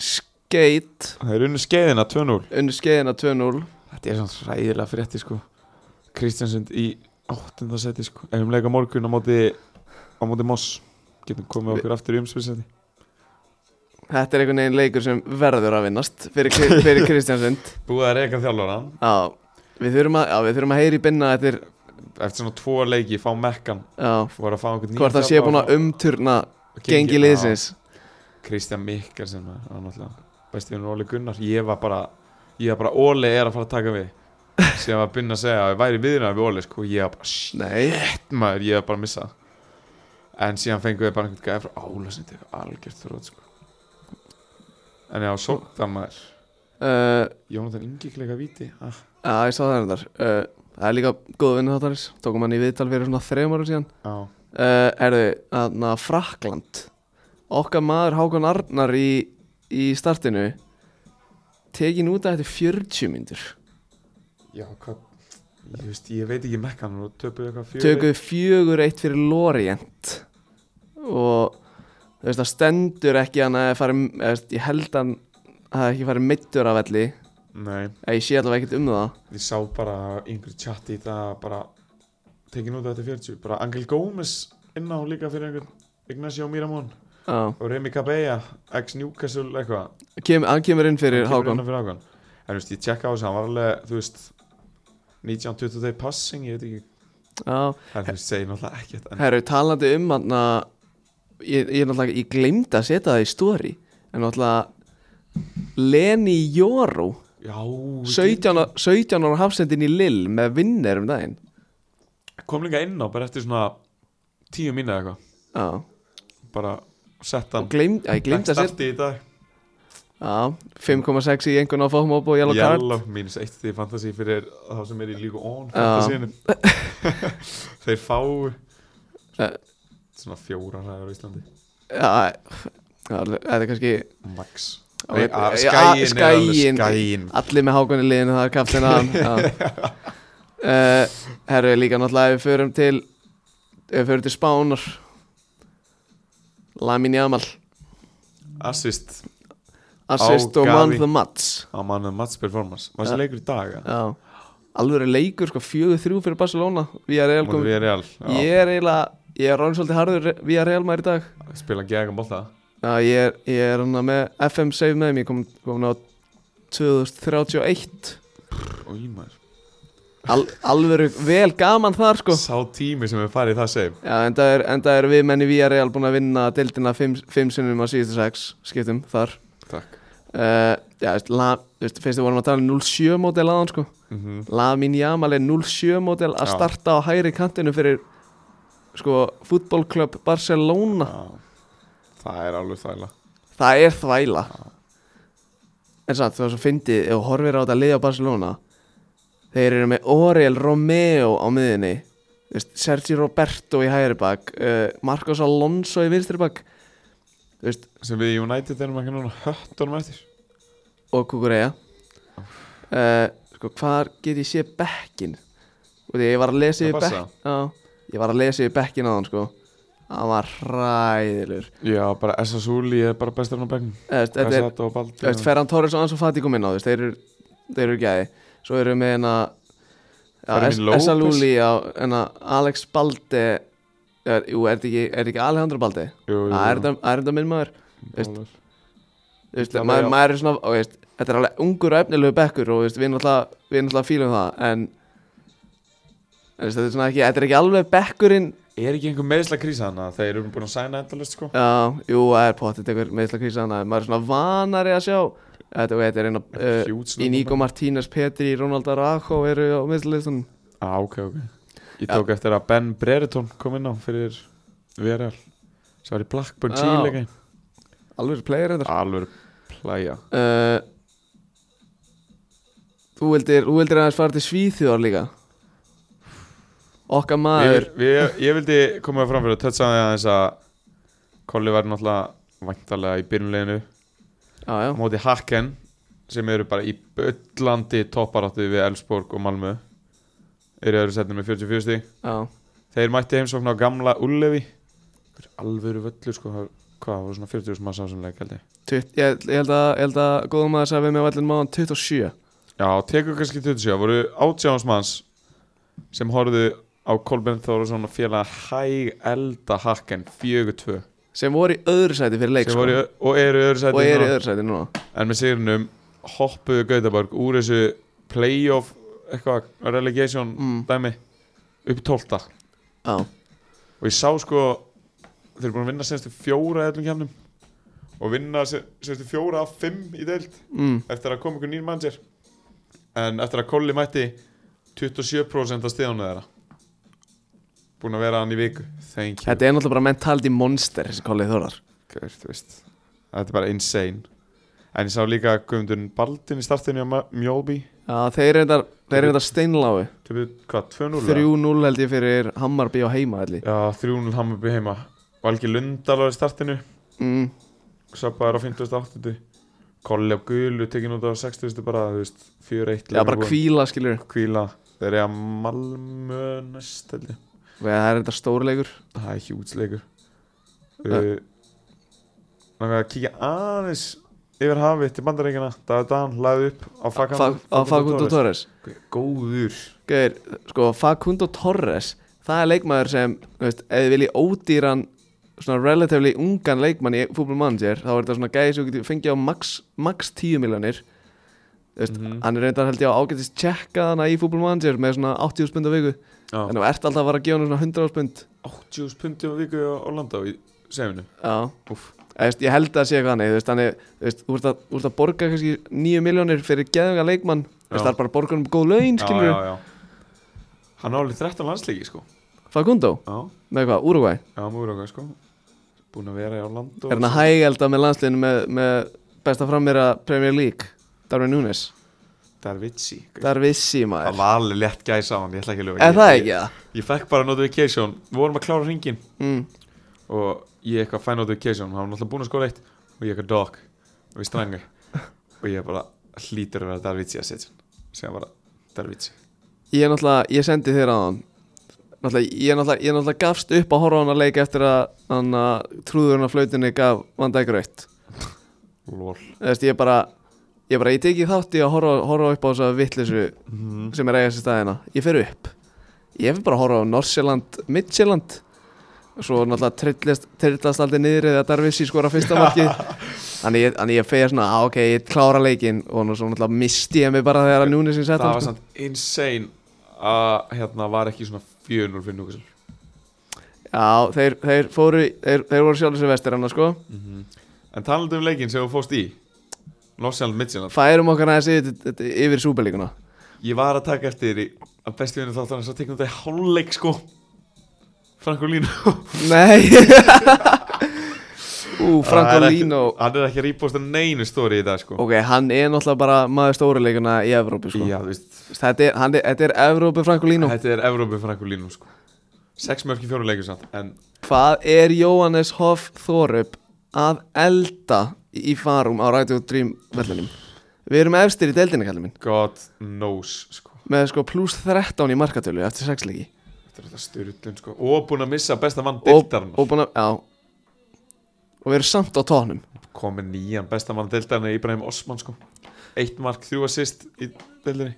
skeit það er unni skeiðina 2-0 Unnu skeiðina 2-0 Þetta er svona ræðilega frétti sko Kristjansund í áttunda seti sko Ef við leika morgun á móti á móti Moss getum komið okkur aftur í umspilseti Þetta er einhvern veginn leikur sem verður að vinnast Fyrir, Kri- fyrir Kristjansund Búið að reyka þjálfara Já, við þurfum að, já, við þurfum að heyri binna Þetta er, Eftir svona tvo leiki fá mekkan já Fór að fá einhvern Hvort það sé búin að umturna gengi liðsins Kristjan Mikkelsen maður, hann er náttúrulega besti vinnur Óli Gunnar Ég var bara Ég var bara Óli er að fara að taka við Sem var byrna að segja að ég væri viðina við Óli sko Ég var bara shit Nei, maður, ég var bara að missa það. en síðan fengum við bara einhvern gæði frá álasundi algjört þrótt sko. en já, sóttan maður uh, Jónatan Ingi klega viti ah. já, ég sá það hendar uh, Það er líka góð vinnu þáttanis Tókum hann í viðtal fyrir svona þrejum ára síðan já, uh, Erðu, þarna Frakland Okkar maður Hákon Arnar í, í startinu Tekin út að þetta 40 myndur já, hvað ég, veist, ég veit ekki mekkan og töpuðu eitthvað fjögur Tökuð fjögur eitt fyrir Lorient Og þú veist það stendur ekki hann að fara Ég held hann að ekki farið middur af velli nei, Eða Ég sé allavega ekkert um það ég sá bara einhver chat í það bara tekin út af þetta 40 bara Angel Gómez inná líka fyrir einhvern Ignacio Miramón Já, og Remy Cabella ex Newcastle eitthvað kem, hann kemur inn fyrir Hann kemur Hákon innan fyrir Hákon en þú veist, ég tjekka á þessu, hann var alveg þú veist, 19-20 day passing ég veit ekki, Já, en þú veist, segir náttúrulega ekkert en, herru, talandi um hann ég, ég náttúrulega, ég glemd að setja það í stóri en náttúrulega Leni Jóró já, 17, á- 17 ára hafsendin í Lill með vinner um daginn ég kom líka inn á bara eftir svona 10 mínu eitthvað, Já, bara sett og hann glemd, já, ég glemd að setja starti í dag Já, 5,6 í einhvern á fókmóp og yellow card Yellow mínus eitt því fantasi fyrir þá sem er í líku on Já. fantasíinu þeir fáu Eh. svona fjórar hæðar á Íslandi Já, já, þetta er kannski max Já, Nei, ég- að- ég- skæin er alveg skæin. skæin allir með hákonni liðinu, það er kaftin að uh, Herru, líka náttúrulega ef við förum til ef við förum til Spánar Lamin Jamal assist Assist og Gavi. man the match á mannum match performance var þessi Ja. leikur í dag að Já Alveg leikur sko 4-3 fyrir Barcelona Við erum Móti eiginlega Villarreal, já. Ég er eiginlega ég er ráðin svolítið harður við að reilma í dag spila gegn bóta Já, ég er, ég er hana með FM save með mér, ég kom, kom á 2031 Í maður Al, Alvöru vel gaman þar sko Sá tími sem við farið í það segjum Já, en það er, en það er við menni við að reil búin að vinna deildina 5 sinnum á síðustu 6 skiptum þar Takk uh, Já, veist, la, veist, finnst þið vorum að tala um 07 mótel aðan sko mm Lamin Jamal er 07 mótel að Já. starta á hægri kantinu fyrir sko, fútbolklöpp Barcelona Það er alveg þæla Það er þvæla En samt, þú veist að fyndið Ef þú horfir á þetta liði á Barcelona Þeir eru með Oriel Romeo á miðinni Þú veist, Sergi Roberto í hægri bak uh, Marcos Alonso í vinstri bak Þú veist, Sem við í United erum ekki núna höttunum eftir og Kukureya uh, Sko, hvar get ég sé bekkin? Og því ég var að lesa Það yfir passa. bekk Já, ég var að lesa yfir bekkin á hann sko Hann var hræðilur Já, bara Essa Súli er bara besturinn á begnum Eh, Þetta er Essa og Baldur Þú veist, Ferran Torres og Ansu Fati kom inn á þú veist, þeir eru, þeir eru gæði svo eru með hérna Fermin ja, López. Essa Lúli á hérna, Alex Balde er, jú, er þetta ekki, er þetta ekki Alejandro Balde? Jú, jú, Það Ah, er þetta- er þetta minn maður jú, veist- Bálar. Þú veist, Ítla maður, með- maður er svona, og, þú veist, þetta er alveg ungur og efnilegu bekkur og þú veist, við erum alltaf, við erum alltaf fílum það en þú veist, þetta er svona ekki, þetta er ekki alveg bekkurinn Er ekki einhver meðsla krísa hana Þeir eru búin að sæna endalist sko já, jú, það er potið eitthvað meðslagkrísa hana, en maður er svona vanari að sjá þetta, og þetta er eina uh, Huge Í Nico núna. Martínez, Petri, Ronald Araujo eru á meðslistunum Á, Ah, ok, ok Ég tók eftir að Ben Brereton kom inn á fyrir VRL sem var í Blackburn Já. Chile ekki Alveg player þetta Alveg plæja uh, Þú vildir, þú vildir aðeins fara til Svíþjóðar líka Okkar ég, maður ég, ég vildi koma fram fyrir að tötsa því aðeins að Kolli var náttúrulega væntalega í byrjunleginu Já, já, á móti Haken sem eru bara í öllandi topparáttu við Elfsborg og Malmö eru í öðru setnum með 44 stík já þeir mætti heimsókn á gamla Ullevi Þetta er alvöru völlur sko það- hvað, það voru svona 40 sem að sá sem leik held ég Tutt, ég, held- ég held að, ég held að góðum maður sagði við með vallin máðan 27 já, tekur kannski 27, voru átjáns manns sem horfðu á Kolben Þórusson og félaga hæg elda Haken 4-2 sem voru í öðru sæti fyrir leik Sem sko, voru í- og eru í öðru og setnum eru í öðru sæti núna en með sigrinum hoppuðu Gautaborg úr þessu playoff eitthvað relegation Mm. dæmi upp í 12 Já, og ég sá sko þeir eru búin að vinna senstu fjóra í öllum kemnum og vinna se- senstu fjóra af fimm í deild mm, eftir að koma ykkur nýr mann sér en eftir að Kolli mætti 27% af stíðunum þeirra búin að vera hann í viku thank you þetta er náttúrulega bara mentality monster þessi kollið þórar Gaur, þú veist þetta er bara insane en ég sá líka Guðmundur Baldin í startinu á Ma- Mjólby Já, þeir eru þetta steinláu Töpuðu hvað, 2-0? 3-0 held ég fyrir Hammarby og heima held ég Já, 3-0 Hammarby heima Valgi Lundal var í startinu mm, Sappaður á 58 Kolli á gulu, tekin út á 60 bara, þú veist, Já, 4-1 bara Liverpool. kvíla skilur Hvíla, þeir eru að Malmö næst held ég. Við það er þetta stórleikur Það er hjútsleikur Ja. Það er að kíkja aðeins yfir hafið til bandaríkina Dagur Dan hlaði upp á Fakan Fa- á Facundo Torres Góður Gauður, sko, Facundo Torres það er leikmaður sem, þú veist, ef þið viljið ódýran svona relatively ungan leikmann í fútbol manager þá er þetta svona gæði sem þú getur fengið á max, max 10 miljonir þú veist, Mhm. hann er reyndar held ég á ágætist tjekka hana í fútbol manager með svona 80 spund á viku Já. en þú ert alltaf að fara að gefa hann svona 100 spund 80 pundi á viku á Orlando í sefinu já, Úff Eða, þú veist, ég held að það sé eitthvað hannig þú veist, þannig, þú veist, þú ert að, þú ert að borga kannski 9 miljonir fyrir geðunga leikmann þú veist, Já. það er bara að borga um góð laun, Já, skilur já, já. Hann á alveg 13 landslíki sko Facundo, Já, með hvað, Uruguay já, mjög okkar sko Búin að vera í Orlando er hann að hægelda með landsliðinu með, með besta frammeira Premier League Darwin Núnes, Það er vitsi það er vissi Það maður var alveg lett gæs á hann, ég ætla ekki að ljóða er það ekki það? Ég, ég fekk bara notification, við vorum að klára hringin Mm. Og ég eitthvað fæ notification, hann var náttúrulega búin að skora eitt Og ég eitthvað dog, og ég strangi Og ég bara hlýtur að vera Darvitsi að setja hann Segja bara Darvitsi ég er náttúrulega, ég sendi þér á hann náttúrulega, ég er náttúrulega, ég er náttúrulega gafst upp að horfa á hann að leika eftir að hann að trúðurinn af flautinni gaf vandæk rautt Lol Þess, ég bara, ég bara, ég teki þátt í að horfa, horfa upp á þessa vittlisu mm. hérna. sem er eigast í staðina ég fer upp ég fer bara að horfa á Norsjöland, Midtjöland svo náttúrulega trillast, trillast aldrei niður eða Darvissi skora fyrsta markið þannig ég, þannig ég feja svona, á ok, ég klára leikinn og nú svo náttúrulega misti ég mig bara þegar að Núnes ég það sett var hann sko. samt insane að hérna var ekki svona 400 fyrir núkasel Já, þeir, þeir fóru, þeir, þeir voru sjálfsög vestir hann sko Mhm. en talandi um leikinn sem þú fóst í Norseland Midtjylland Færum okkar aðeins yfir, yfir súperlíkuna ég var að taka eftir því að besti vinnu þáttan svo tekum þetta í hálfleik sko Frankolínu Nei Ú, Frankolino hann er ekki að rýposta neinu stóri í dag sko Ok, hann er náttúrulega bara maður stórileikuna í Evrópu sko. já, þú veist, þetta, er, hann er, þetta er Evrópu Frankolino þetta er Evrópi Frankolínu sko sex mörki fjóru leikur samt en Hvað er Jóhannes Hoff Thorup að elda í farum á Radio Dream vellinum? Við erum efstir í deildinni kallið minn God knows sko með sko pluss 13 í markatölu eftir sexleiki þetta er þetta styrlun sko og búin að missa besta mann og, deildarinn og, búin að, já. og við erum samt á tónum komið nýjan besta mann deildarinn er Íbrahim Osman sko eitt mark, þrjú assist í deildinni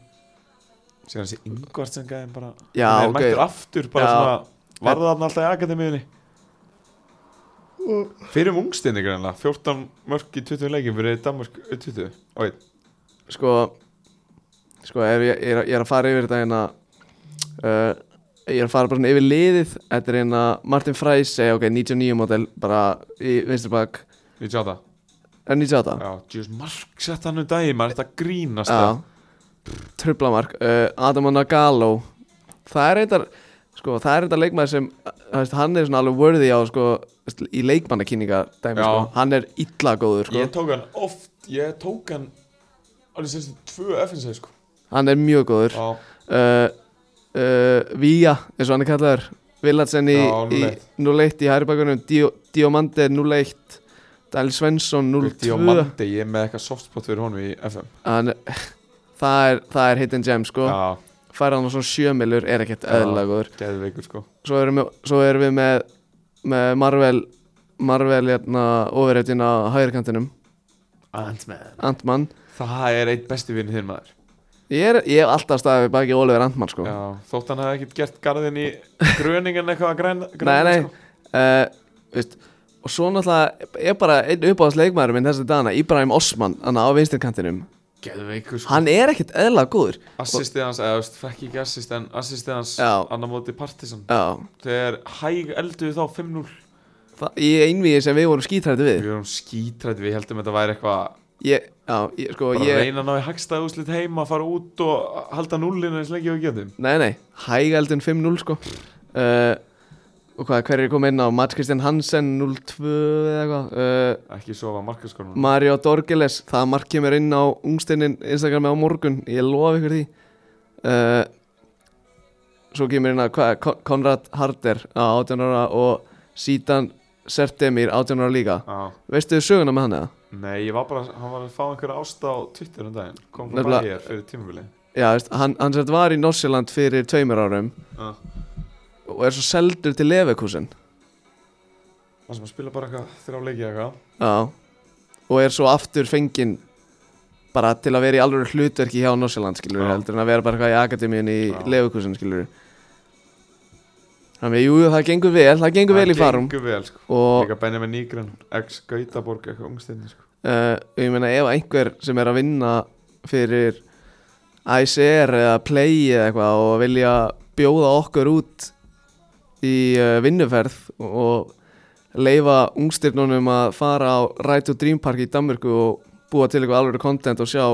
síðan þessi yngvartsen gæðin bara Já, hann ok. er mættur aftur bara Já. svona varða þarna alltaf í akademiðinni fyrir um ungstinni greinlega 14 mörk í 20 leikin fyrir Danmark 20 og einn sko sko ef ég, ég, er, að- ég er að fara yfir þetta hérna uh, ég er að fara bara svona yfir liðið þetta er hérna Martin Frey segja ok 99 model bara í vinstri bak við sjá það er 98 já, Jús Mark sett hann um daginn maður er þetta að grínast það. já trublamark uh, Adam Nagalo það er eitthvað sko það er eitthvað leikmaður sem þú veist, hann er svona alveg worthy á sko í leikmannakynninga dæmi Já. sko hann er illa góður sko ég tók hann oft ég tók hann alveg sérstu tvö FNC sko hann er mjög góður já, uh, uh, Vía, eins og hann er kallaður Villadsen í, Já, í 01. 0-1 í hæri bakunum Diomande 0-1 Dæl Svensson Gutti og 0-2 Mandi, ég er með eitthvað softspot fyrir honum í FM Hann- það er, það er hidden gem sko Já, færa hann á svona sjömilur er ekkert Já. eðlilega góður geðveikur sko svo erum við, svo erum við með, með Marvel Marvel hérna ofurreitin á hægirkantinum Antman Antmann Það er eitt besti vinnu þinn maður ég, er, ég hef alltaf staðið við baki Oliver Antmann sko Já, þótt hann hefði ekkert gert garðin í gröningen eitthvað að græna, Nei, græna sko. nei uh, veist, Og svo náttúrulega er bara einn uppáðs leikmaður minn þessi dana Íbrahim Osman, hann á vinstirkantinum sko. Geðveikur sko Hann er ekkert eðla góður Assistið hans, eða þú veist, fekk ekki assist en assistið hans Já. annar móti partisan Já, Þegar hæg elduðu þá 5-0 það, í einvíði sem við vorum skítrætti við Við erum skítrætt, við heldum þetta væri eitthvað ég, Já, ég, sko Bara ég, reyna að ná í hagstæð úslit heima, fara út og halda núllinu eins lengi og við getum Nei, nei, hægældin 5-0 sko uh, Og hvað, hver er komið inn á Mats Kristján Hansen 0-2 eða eitthvað uh, Ekki sofa markaskonum Mario Dorgeles, það mark kemur inn á ungstinin Instagrami á morgun, ég lofa ykkur því uh, Svo kemur inn að hvað, Kon- Konrad Harder á 18 ára og sítan Sertemir 18 ára líka Já Veistu þið söguna með hann eða? Nei, ég var bara, hann var að fá einhverja ásta á Twitter um daginn, kom frá Nefnilega- bæjar fyrir tímabili Já, veist, hann, hann sett var í Norsjöland fyrir tveimur árum ah. og er svo seldur til Leverkusen Það sem að spila bara eitthvað þrjá leiki eða eitthvað Já og er svo aftur fenginn bara til að vera í alveg hlutverki hjá Norsjöland skilur Já. heldur en að vera bara eitthvað í akademíun í Já. Leverkusen skilur Þannig að jú, jú, það gengur vel, það gengur vel í farum Gengur vel, sko og Líka Benjamin Nýgren, ex-Gautaborg, eitthvað ungstinni, sko uh, ég meina ef einhver sem er að vinna fyrir ICR eða Play eða eitthvað og vilja bjóða okkur út í uh, vinnuferð og leifa ungstyrnunum að fara á Right to Dream Park í Danmörku og búa til eitthvað alveg content og sjá,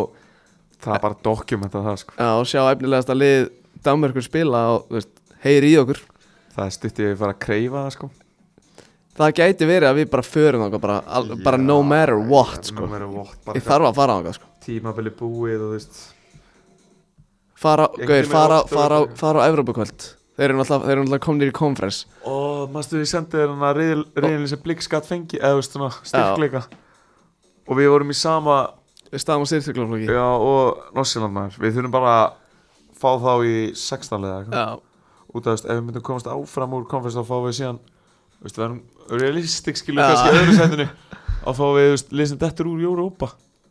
Það er bara dokumenta það, sko uh, og sjá efnilegasta lið Danmörkur spila og þú veist, heyri í okkur Það er stutt ég að fara að kreifa það, sko það gæti verið að við bara förum þangað bara, al, bara Já, no matter what já, sko. No matter what, bara ég þarf að fara þangað sko. eitthvað Tímabili búið og þú veist fara, Einhvern gauðir, tímann fara, í október. fara, fara á Evrópukvöld þeir eru náttúrulega, þeir eru náttúrulega komnir í konferens Og mannstu ég sendið þér hann að reyðin sem blikkskatt fengi, eða þú veist, svona, styrkleika Og við vorum í sama, við staðum á styrstuglaflóki já, og Nossiland maður Við þurfum bara að fá þá í 16 liða, eitthvað já, út af þess, ef við myndum komast áfram úr konferens þá fáum við síðan þú veist, við erum realistik skilur Já. kannski í öðru sætinu þá fáum við þú veist, lið sem dettur úr Jórópa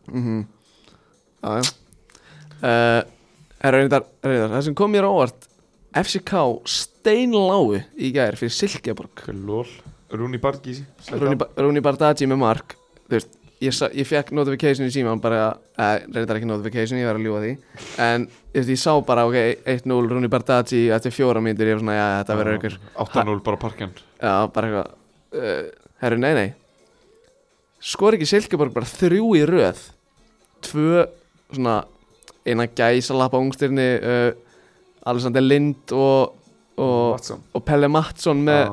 já, já. Uh, er reyndar, reyndar það sem kom mér á óvart FCK steinlái í gær fyrir Silkeborg Hvað er lól? Rúni Bargísi Rúni, Ba- Rúni Bardagi með mark þú veist, ég, sa, ég fekk notification í síman bara, eh, reyndar ekki notification, ég var að ljúa því en þú veist, ég sá bara, ok, 1-0 Rúni Bardagi eftir fjóra mínútur, ég var svona, já, þetta verður ykkur 8-0 bara parkjan já, bara eitthvað uh, herru, nei, nei skor ekki Silkeborg bara þrjú í röð tvö, svona innan gæsa lappa ungstirni uh, Alexander Lind og, og, Watson og Pelle Mattsson með Já.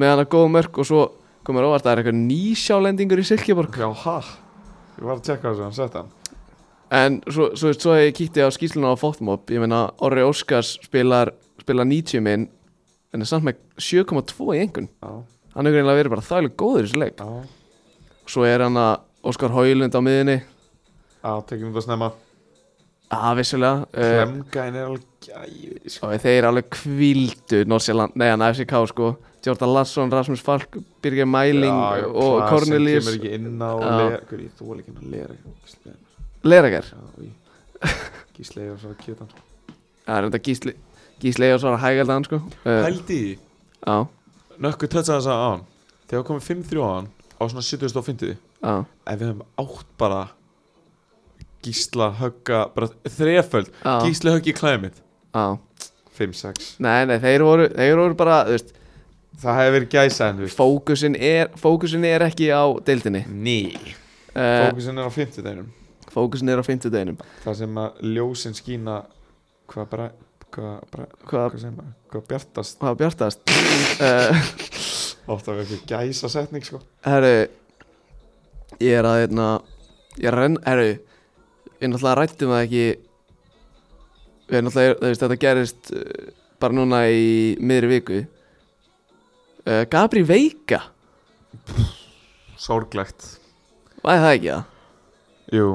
með hann að góða mörk og svo komur óvart að það er eitthvað nýsjálendingur í Silkeborg Já, ha Ég var að tjekka þessu, hann sett hann en svo, svo, veist, svo ég kíkti á skýsluna á Fótmob ég meina Orri Óskars spilar, spilar 90 minn en er samt með 7,2 í engun Já, hann hefur greinlega verið bara þægilega góður í þessu leik já svo er hann að Óskar Hóilund á miðinni Já, tekjum þetta snemma að vissulega uh, Klemgæn er alveg gæði sko. og þeir eru alveg kvíldu Norsjaland, nei hann FCK sko Jordan Larsson, Rasmus Falk, Birgir Mæling Já, já, og Klaasen Cornelius kemur ekki inn á Já. Lea Hver, ég þóla ekki hann að Lea Gísli Lerager Já, í Gísli og svo að kjöta Eh. hann það er þetta Gísli Gísli og svo er hægaldan sko uh, Pældi í því. já, Nökkur tötsa þess að á hann "Ah, Þegar komið 5-3 á hann Á svona 70.50 já En við höfum átt bara Gísla högga Bara þreföld Já. Gísli höggi klæmið Já, 5-6 nei, nei, þeir voru, þeir voru bara, þú veist, Það hefði verið gæsa en við fókusin er, fókusin er ekki á deildinni Ný uh, Fókusin er á 50 deginum Fókusin er á fimmtudeginum Það sem að ljósin skína Hvað bara Hvað, bara, Hvað, hvað sem að Hvað bjartast hvað bjartast? uh, Ótt að vera eitthvað gæsa setning sko herru, ég er að, hérna, ég er að renna, herru, við náttúrulega rættum það ekki, við náttúrulega, þú veist, þetta gerist uh, bara núna í miðri viku. Uh, Gabri Veika, Sorglegt væði það ekki það? Jú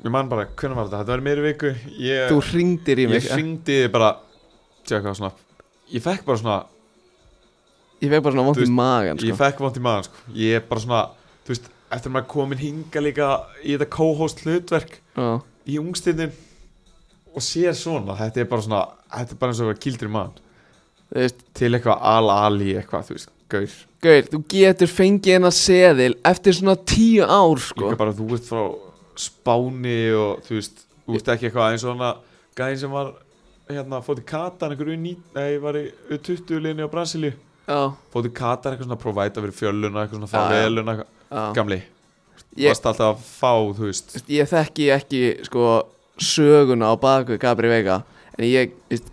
Ég man bara Hvernig var þetta Þetta var meiri viku Ég Þú hringdir í mig. eh, Eh, Ég hringdi þig bara Tjekka svona Ég fekk bara svona Ég fekk bara svona vont Þú í veist, magan, Ég sko. fekk vant í maðan sko Ég er bara svona Þú veist Eftir maður komin hinga líka Í þetta co-host hlutverk Já. Í ungstinnin Og sér svona Þetta er bara svona Þetta er bara eins og að vera kildur í maðan Þú veist, Til eitthvað al-ali eitthvað Þú veist Gaur Gaur, þú getur fengið hennar seðil eftir svona tíu ár, sko. Líka bara þú ert frá Spáni Og þú veist Þú veist ekki eitthvað eins og hana Gæðin sem var Hérna fótt í Katar Einhverju ný Nei var í 20 linni á Brasilíu Já, Fótt í Katar eitthvað svona Provæta fyrir fjöluna Eitthvað svona Já, já. farveluna eitthvað. já. Gamli Ég- Varst alltaf að fá Þú veist Ég þekki ekki, sko, söguna á baku Gabri Vega, en ég, veist,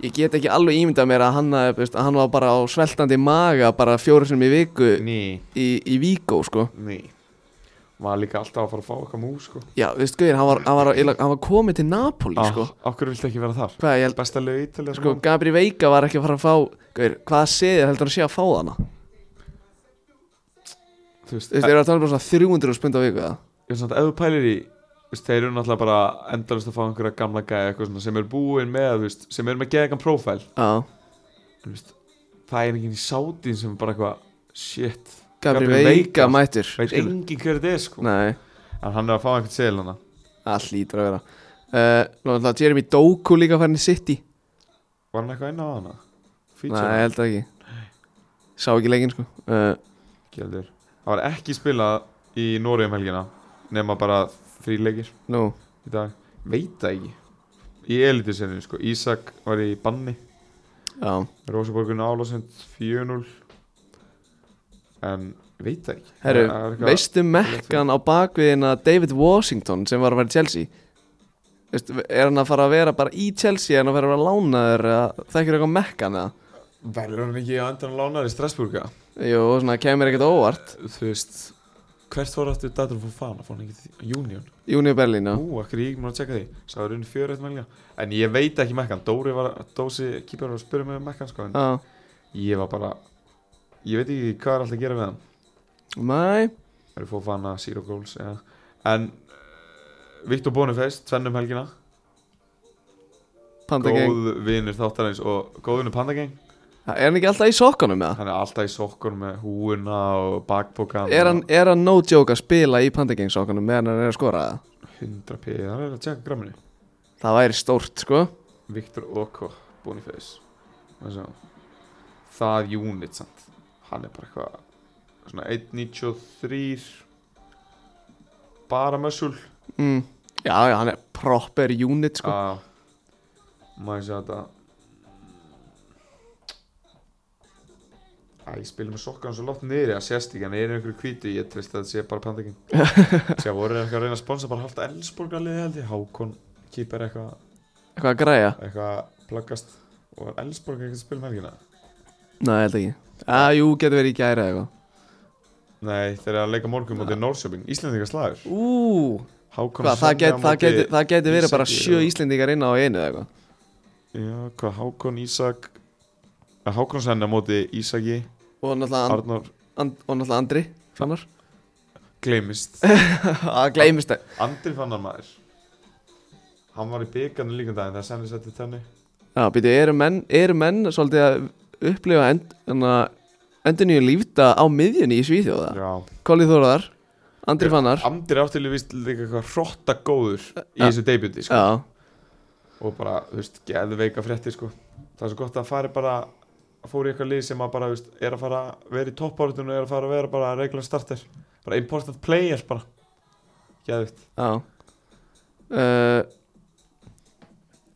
ég get ekki alveg ímyndað mér að hann, hafi, veist, að hann var bara á sveltandi maga bara fjóru sinum í viku Ný í, í Víkó, sko. Ný Var líka alltaf að fara að fá eitthvað múl sko Já, þú veist, Gaur, hann var, hann var, hann var, hann var komið til Napoli, Ah. sko. Okkur viltu ekki vera þar Hvað, ég held, Besta lög ítalið sko, Gabri Vega var ekki að fara að fá, Gaur, hvaða seðil heldur hann sé að fá þarna? Þú veist eh, Þú veist, þeir eru að tala um bara svona 300 spund á viku, það? Ég er svona ef þú pælir í þú veist, Þeir eru náttúrulega bara endalist að fá einhverja gamla gæja eitthvað svona sem er búin með þú veist sem er með geðegan prófæl Já. Þú veist Það er enginn í sátin sem er bara eitthvað Shit Gabri Gabri Veiga Veiga. mættur Veit skilur. enginn hver þetta er sko Nei, En hann er að fá einhvern segil hana allt lítur að vera uh, Lóðanlega Jeremy Doku líka farin í City Var hann eitthvað inn á hana? Feature Nei, ég held það ekki Sá ekki leikinn sko uh, Ekki heldur Það var ekki spilað í Nóri um helgina Nefna bara þrýleikir Nú, í dag veit það ekki í elitisenninu sko, Ísak var í banni já Rósaborgun álásend 4-0 en veit það ekki Herru, Það er eitthvað- veistu mekkan á bakviðina David Washington sem var að vera í Chelsea Veistu, er hann að fara að vera bara í Chelsea en að vera að vera lánaður eða þekkir eitthvað mekkan eða verður hann ekki á endan lánar í Strasburga Jú, svona kemur ekkert óvart þú veist hvert fór aftur datum fór fana fór hann ekki til Union Júni Berlín, já ú, akkur ég ekki maður að tjekka því sagði runni fjöru eitt melga en ég veit ekki mekkan Dóri var Dósi kýpur var að spyrja mig um mekkan sko en Já, ég var bara ég veit ekki hvað er alltaf að gera við hann mæ Það eru Fofana, Zero Goals ja. En uh, Viktor Boniface, tvennum helgina Panda Gang Góð vinur þáttarins og góð vinur Pandagang Er hann ekki alltaf í sokkunum eða? Hann er alltaf í sokkur með húuna og bakpokan Er hann, er hann no joke að spila í pandagengsokunum meðan hann er að skora það? 100 p, hann er að tjekka gramminu Það væri stórt, sko Viktor Oko Boniface Þessi, það unit samt hann er bara eitthvað svona 1.93 bara mössul mm. Já, já, hann er proper unit sko Já, maður sé þetta Æ, ég spilum með sokkan svo látt niður að sést ekki, hann er í einhverju hvítu ég treyst að þetta sé bara pandekinn Sér voru þeir eitthvað að reyna að sponsa bara halda Ellsborgar liði held ég, Hákon kýpar eitthvað Eitthvað að græja? eitthvað að plaggast og var Ellsborg ekkert að spila um helgina Nei, ég held ekki Já, jú, getur verið í gæra eða eitthvað Nei, þeir eru að leika morgun mútið Norrköping, Íslendingar slagur Ú, Hákon hvað, það, get, það, geti, það geti verið bara Ísaki sjö og- Íslendingar inn á einu eða eitthvað Já, hvað Hákon Ísak að Hákon senna móti Ísaki Og náttúrulega, and, Arnór and, og náttúrulega Andri Fannar gleymist Það gleymist það Andri fannar maður Hann var í byggarnu líka um daginn þegar senni setti tenni Já, býtu, eru menn, eru menn svolítið að upplifa end, endur nýju lífta á miðjunni í Svíþjóða? Já Kolli Þóraðar, Andri Fannar Andri áttilega vist líka eitthvað hrotta góður Ja. í þessu debuti sko. Já, og bara, þú veist, geðveika frétti sko. það er svo gott að hann fari bara að fór í eitthvað lið sem að bara, þú veist, er að fara að vera í toppáratun og er að fara að vera bara regla starter bara important player bara geðvikt já uh,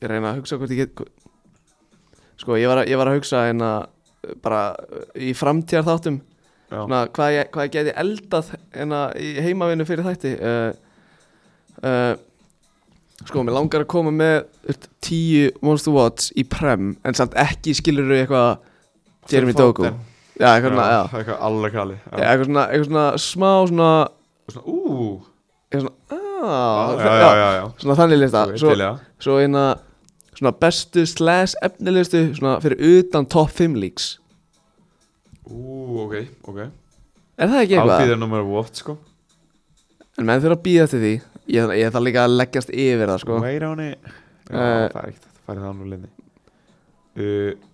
Ég reyna að hugsa hvort ég get Sko, ég var að, ég var að hugsa en að bara eh, í framtíðar þáttum já, svona, hvað, ég, hvað ég geti eldað en að í heimavinu fyrir þætti uh, uh, sko, mér langar að koma með veist, tíu Monster Watch í prem en samt ekki skilur þau eitthvað Jeremy Doku já, Foden. eitthvað, svona, já. Já, eitthvað alveg kali Já, eitthvað, svona, eitthvað svona smá svona, og svona, ú eitthvað svona, já, ah, já, já, já, já. svona þannig lista Svo, svo, til, já. svo eina svona bestu slash efnilegustu svona fyrir utan top 5 líks ú, ok, ok er það ekki eitthvað? ábýðar nummer what sko, en menn þurfa að býða eftir því ég, ég þarf líka að leggjast yfir það sko meira honi já, Eh. það er ekkert, það færi það nú linni uh,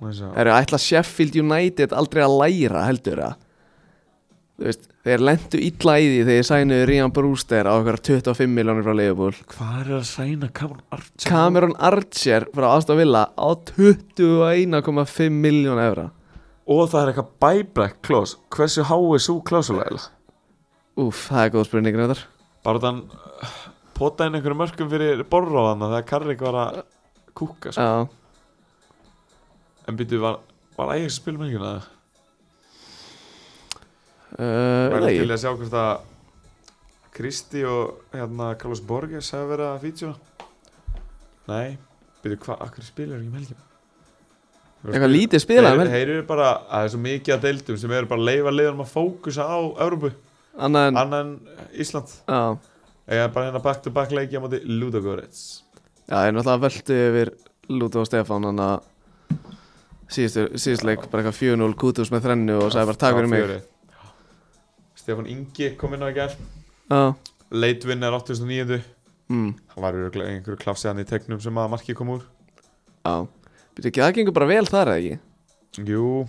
og þess að- Það eru ætla Sheffield United aldrei að læra heldur að Þú veist, þeir lendu illa í því þegar þeir sænuðu Rían Brewster á okkar 25 miljónir frá Liverpool hvað er að sæna Cameron Archer Cameron Archer frá Aston Villa á 21,5 miljón evra og það er eitthvað buyback clause hversu há er svo klásulega Úf, það er góð spurning reyndar bara þann pota uh, inn einhverjum mörgum fyrir borróðan þegar Karrik var að kúka sko. Já, Eh. en byrju var, var ægis að spila með einhverjum það uh, væri til ekki í að sjá hvort að Kristi og hérna Carlos Borges hefur verið að feature nei byrju hvað, akkur spilar ekki með helgjum Eitthvað lítið spilað Þeir menn þeir eru bara, það er svo mikið að deildum sem eru bara að leifa leiðanum að fókusa á Európu, Annað en annað en Ísland Já, Ég er bara hérna back to back leikja á móti Ludogorets já, ég náttúrulega veldu yfir Lúto og Stefán hann að síðustu, síðustu leik bara eitthvað 4-0 kútus með þrennu og sagði bara takk fyrir mig Stefán Ingi kom inn á í gær Já, Leitvinnar 89 mm, Hann var örugglega í einhverju klafsiðan í tegnum sem að markið kom úr Já, býtu ekki, það gengur bara vel þar eða ekki Jú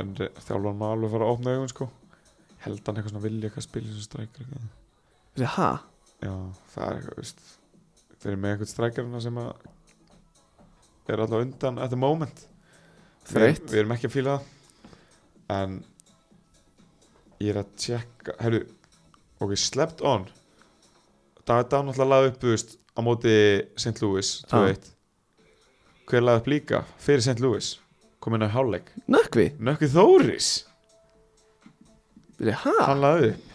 En re- þjálfan maður alveg fara að opna augun sko Held hann eitthvað svona vilja eitthvað spila sem strækir Býtu, hæ? Já, það er eitthvað, veist Þeir eru með eitthvað strækirna sem að Er alltaf undan at the moment Við, Þreytt. við erum ekki að fíla það En Ég er að tjekka Herru, ok, slept on David Dan alltaf laði upp, þú veist Á móti St. Louis, þú Já. veit Hver laði upp líka Fyrir St. Louis, kom inn á hálfleik Nökkvi? Nökkvi Þóris Býtu, hæ? Hann laði upp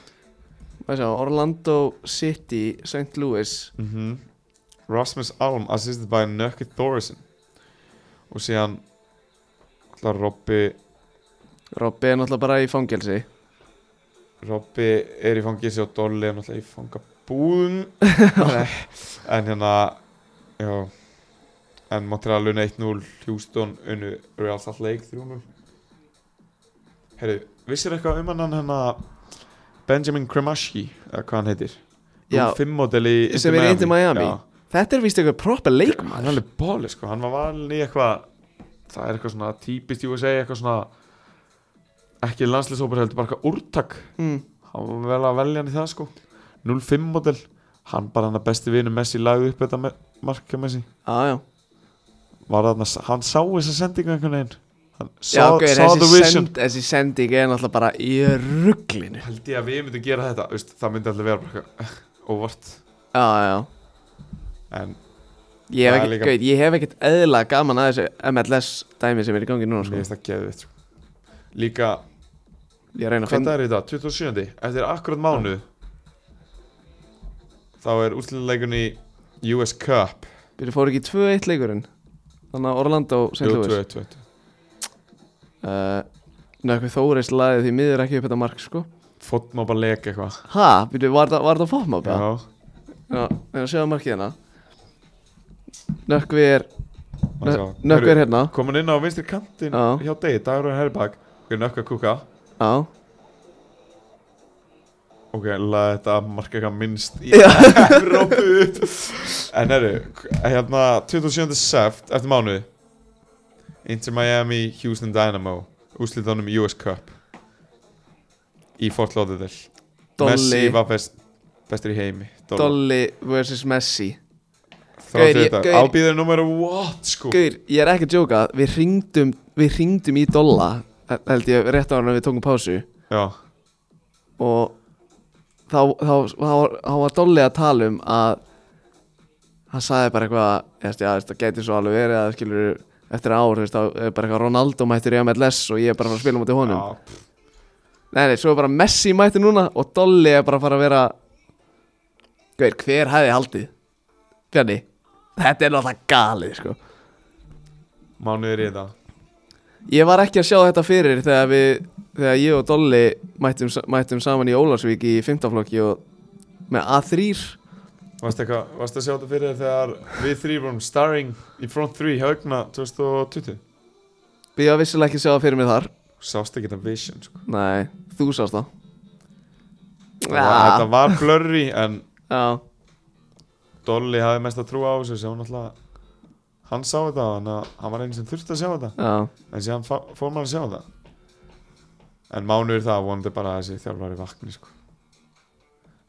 Hvað sjá, Orlando City, St. Louis Mhm. Rasmus Alm assisted by Nökkvi Þórisin Og síðan Alltaf Robby Robby er náttúrulega bara í fangelsi Robby er í fangilsi og Dolly er náttúrulega í fangabúðum en hérna já en Montreal unna 1-0 Houston unnu Real Salt Lake 3-0 herru, vissir eitthvað um hann hérna Benjamin Kremashi eða hvað hann heitir Já. 5 model í Sem er í Inter Miami. Þetta er víst eitthvað proper hann er leikmaður alveg bóli sko, hann var valin í eitthvað það er eitthvað svona típist USA eitthvað svona ekki landslisópar heldur bara eitthvað úrtak mm. hann var vel að velja hann í það sko 05 model hann bara hann að besti vinu Messi lagði upp þetta me- mark hjá Messi já, já var þarna, hann sá þessa sendingu einhvern veginn hann sá, Já, ok, sá the þessi, vision send, þessi sending er náttúrulega bara í rugglinu held ég að við myndum gera þetta veist, það myndi alltaf vera bara eitthvað eh, óvart Já, já en Ég hef Það er ekkert, líka- gauð, ég hef ekkert eðla gaman að þessu MLS dæmi sem er í gangi núna mér sko. finnst það geðið sko. líka, Ég reyna að hvað finna það er í dag? 27. eftir akkurat mánu þá er úrslutuleikun í US Cup Við fóru ekki 2-1 leikurinn Þannig að Orlando St. Jú, Louis 2-1, 2-1. uh, Nökkvi Þóris laði því miður ekki upp þetta mark sko. fótt maður bara að leika eitthvað Ha, byrju, var það, var það fóma bara? Já, Já, ég er að sjáða markið hérna Nökkvi er má sjá. Nökkvi er Heyrðu, hérna kom hann inn á vinstri kantin Já. hjá degi, dagur og herrbak er nökk að kúka Já, ok, laði þetta marka eitthvað minnst í Já. Evrópu upp en herru, hérna 27. seft eftir mánuði Inter Miami, Houston Dynamo úsliðanum í US Cup í Fort Lauderdale Messi Dolly var best, bestur í heimi Dolly Dolly vs. Messi Gaur, þráttu ég- þetta, gaur- ábýður nummer what sko Guður, ég er ekki að djóka Við hringdum, við hringdum í Dolla Held ég rétt ára en við tókum pásu já, og þá, þá, þá, þá var Dolly að tala um að hann sagði bara eitthvað þú veist, já, þú veist, það gæti svo alveg verið að skilur eftir ár, þú veist, þá er bara eitthvað Ronaldo mættur í MLS og ég er bara að fara að spila mútið honum já nei, nei, svo er bara Messi mættur núna og Dolly er bara að fara að vera Guður, hver hefði haldið? Bjarni, þetta er náttúrulega galið, sko mánuður í þetta Ég var ekki að sjá þetta fyrir þegar við þegar ég og Dolly mættum, mættum saman í Ólafsvík í 15 flokki og með A3 Varst eitthvað, varst að sjá þetta fyrir þér þegar við þrý vorum starring í front 3 hjá Ögna 2020? Ég var vissilega ekki að sjá það fyrir mig þar Sást ekki þetta vision, sko. Nei, þú sást það Ja. Þetta var blurry en Já, Dolly hafi mest að trúa á þessu sem hann alltaf, hann sá þetta þannig að hann var einu sem þurfti að sjá þetta já en síðan fa- fór maður að sjá þetta. En mánuður það vonandi bara að þessi þjálfari vakni, sko.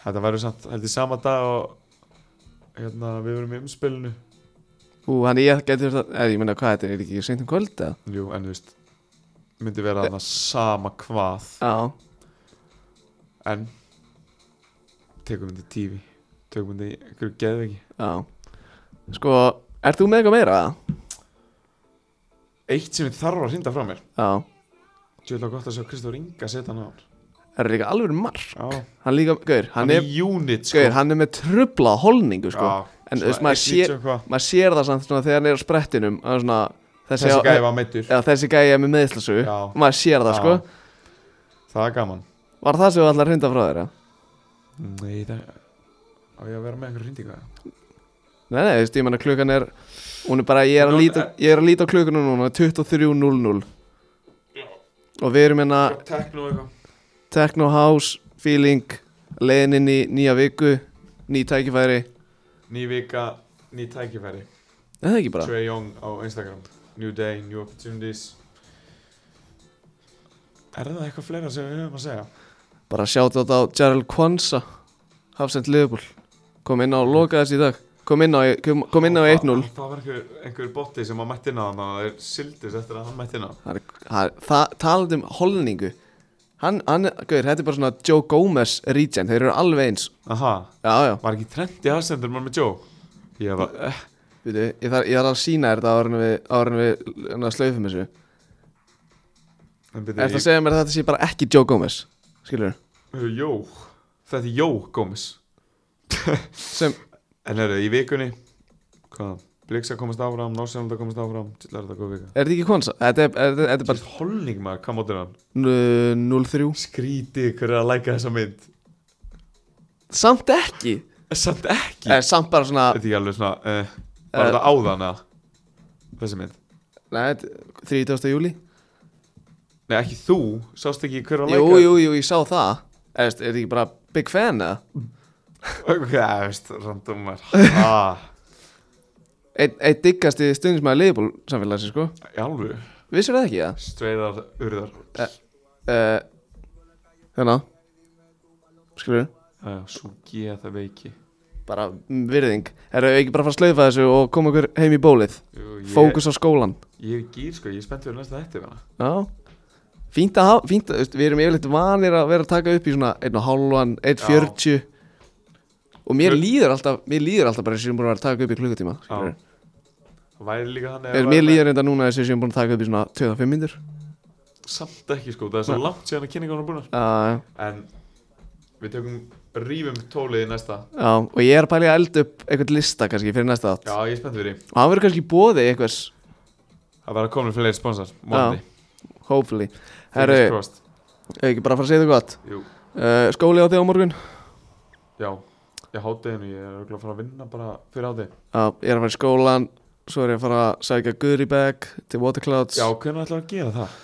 Þetta verður samt, held ég sama dag og hérna, við vorum í umspilinu. Ú, hann ég getur þetta Eða, ég meina, hvað þetta er ekki seint um kvöld eða? Jú, en þú veist, myndi vera þarna sama hvað Já, En Tekum þetta í tífi Tekum þetta í einhverju geðveiki já Sko, ert þú með eitthvað meira? eða? Eitt sem ég þarf að hrinda frá mér Já Tjóðlega gott að sjá Kristóf Inga setja hann á hann Það er líka alveg mark Já, Hann líka, gaur, hann er unit sko Gaur, hann er með trubla holningu, sko Já, En, þú veist, svona maður sér 1.90 og eitthvað. Maður sér það samt svona þegar hann er á sprettinum að svona, Þessi, Þessi á- gæði var meittur Já, þessi gæi er með meðslasu Já. Maður sér það, Já. sko Það er gaman Var það sem við allar hrinda frá þér, já? Nei, það Á ég að vera með einhverju hrindiga Nei, nei, þú veist, ég menna klukkan er Hún er bara, ég er að Hún- líta, ég er að líta á klukkanu núna 23.00 Og við erum hérna Sko, Tekno eitthvað Techno House, Feeling Leiðin inn í nýja viku Ný tækifæri Ný vika Ný tækifæri Er það ekki bara? Trey Young á Instagram New day, new opportunities Er það eitthvað fleira sem við höfum að segja? Bara sjátt á Gerald Kwanza Hafsend Liverpool Kom inn á og loka þessi í dag Kom inn á, e- kom, kom inn á 1-0 Það- Það var einhver, einhver botti sem að mætti inn á hann og þeir sildist eftir að hann mætti inn á hann. Það er- það er- Það talandi um holningu Hann, hann, gauður, þetta er bara svona Joe Gomez regen Þeir eru alveg eins Aha, Já, já var ekki trend í aðsendur mann með Joe? Ég var, eh, Veitu, ég þarf þar að sína þér þetta árun við, árun við hérna, slöfum þessu en Er byrja, þetta að segja mér að þetta sé bara ekki Joe Gomez Skilur ég, Jó, þetta er Jó Gómez. Sem, En herru, í vikunni, hvað, Blix að komast áfram, Norsjálfand að komast áfram, til er þetta góð vika. er þetta ekki Kwanza? Þetta er, er, er, er Bara holning maður, hvað mótir hann? bara n- 0-3 Skríti ykkur að læka þessa mynd. Samt ekki Samt ekki. eh, Samt bara svona Þetta er ekki alveg svona, eh, Eh. var þetta áðan að þessi mynd? nei, þetta- 30. júli Nei, ekki þú, sást ekki hver að læka? Jú, jú, jú, ég sá það Eh, Er, er þetta ekki bara big fan eða? Ok, það veist, randómar ah, Eitt ein diggasti stundismæði liðból samfélagsi sko Í alvöru, Vissir það ekki það? streiðar urðar Eh, Hérna Skilur Æja, svo geða Eh, það veiki bara mm, virðing Herra, eigum við ekki bara að fara að slaufa þessu og koma okkur heim í bólið Jú, ég, Fókus á skólan Ég er gýr sko, ég er spennt fyrir næsta þetta með hana Já Fínt að hafa, fínt að, þú veist, við erum yfirleitt vanir að vera að taka upp í svona 1.5, 1.40 Og mér Klukk- líður alltaf, mér líður alltaf bara þessi sem búin að vera að taka upp í klukkutíma skilurðu. Það væri líka þannig að Er það mér væri- líður enda núna þessi sem búin að taka upp í svona 25 minnur Samt ekki sko, það er svo langt síðan að kynninga hún er búin Já, En við tökum, rýfum tólið í næsta já, og ég er að pæli að elda upp eitthvað lista kannski fyrir næsta átt Já, ég er spennt fyrir því Og hann verður kannski bóði eitthvers, Það verða komin fleiri sponsor, vonandi hopefully Herru, Fingers crossed. eigum við ekki bara að fara að segja það gott Jú, uh, Skóli á þig á morgun já Ég hátteginu, ég er örugglega að fara að vinna bara fyrir hátegi Já, ég er að fara í skólan Svo er ég að fara að sækja Goodie Bag til Waterclouds Já, hvernig ætlaðu að gera það?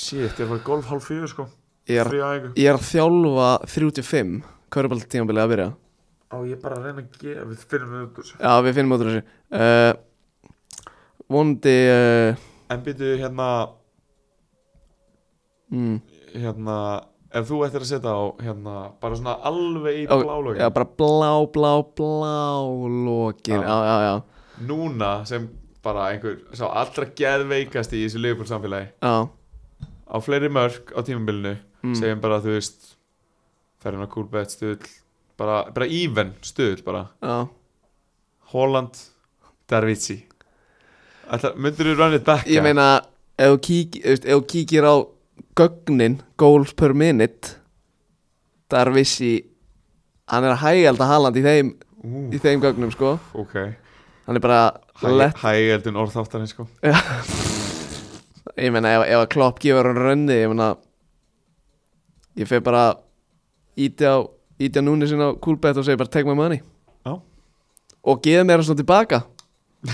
Shit, ég er að fara í golf hálf fjögur sko ég, er, Frí æfingu ég er að þjálfa 35 Körbáltíðanbilið að byrja Á, ég er bara að reyna að gera, við finnum við út úr þessu Já, við finnum út úr þessu uh, Vondi uh, En byrju, hérna, mm, hérna Ef þú ættir að setja á, hérna, bara svona alveg í Já, blálógin Já, bara blá, blá, blá Lokin, Já. já, já, já, núna sem bara einhver sá allra geðveikast í þessu Liverpool samfélagi já. á fleiri mörk á tímabilinu Mm. segjum bara þú veist ferðin á Kúlbett stuðl bara, bara even stuðl bara já. Holland Darvici myndur þú run it back Ég meina, ef þú kík, þú veist, ef þú kíkir á gögnin, goals per minute Þar vissi Hann er að hægælda Haaland í þeim, Ú, í þeim gögnum, sko ok Hann er bara lett hægældun orðþáttarinn sko Ég meina ef, ef að Klopp gefur hann rönni Ég meina Ég fer bara Íti á Íti á núni sinna á Coolbet og segi bara Take my money Já. Og gefa mér hann svo tilbaka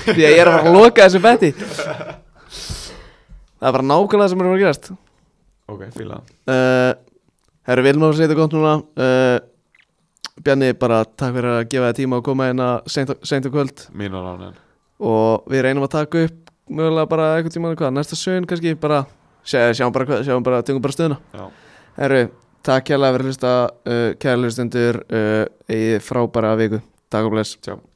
Því að ég er að fara að loka þessu betti Það er bara nákvæmlega það sem er að fara að gerast ok, fíla það. uh, Herru Vilma var að segja þetta gott núna uh, Bjarni bara takk fyrir að gefa þér tíma og koma hérna seint á- seint á kvöld mín var ránin og við reynum að taka upp mögulega bara eitthvað tíma hvað, næsta sögn kannski bara, sjá, sjáum bara hvað, sjáum bara, tungum bara stöðuna já Herru, takk kærlega fyrir að hlusta uh, kærlega hlustendur uh, í frábæra viku, takk og bless Ciao.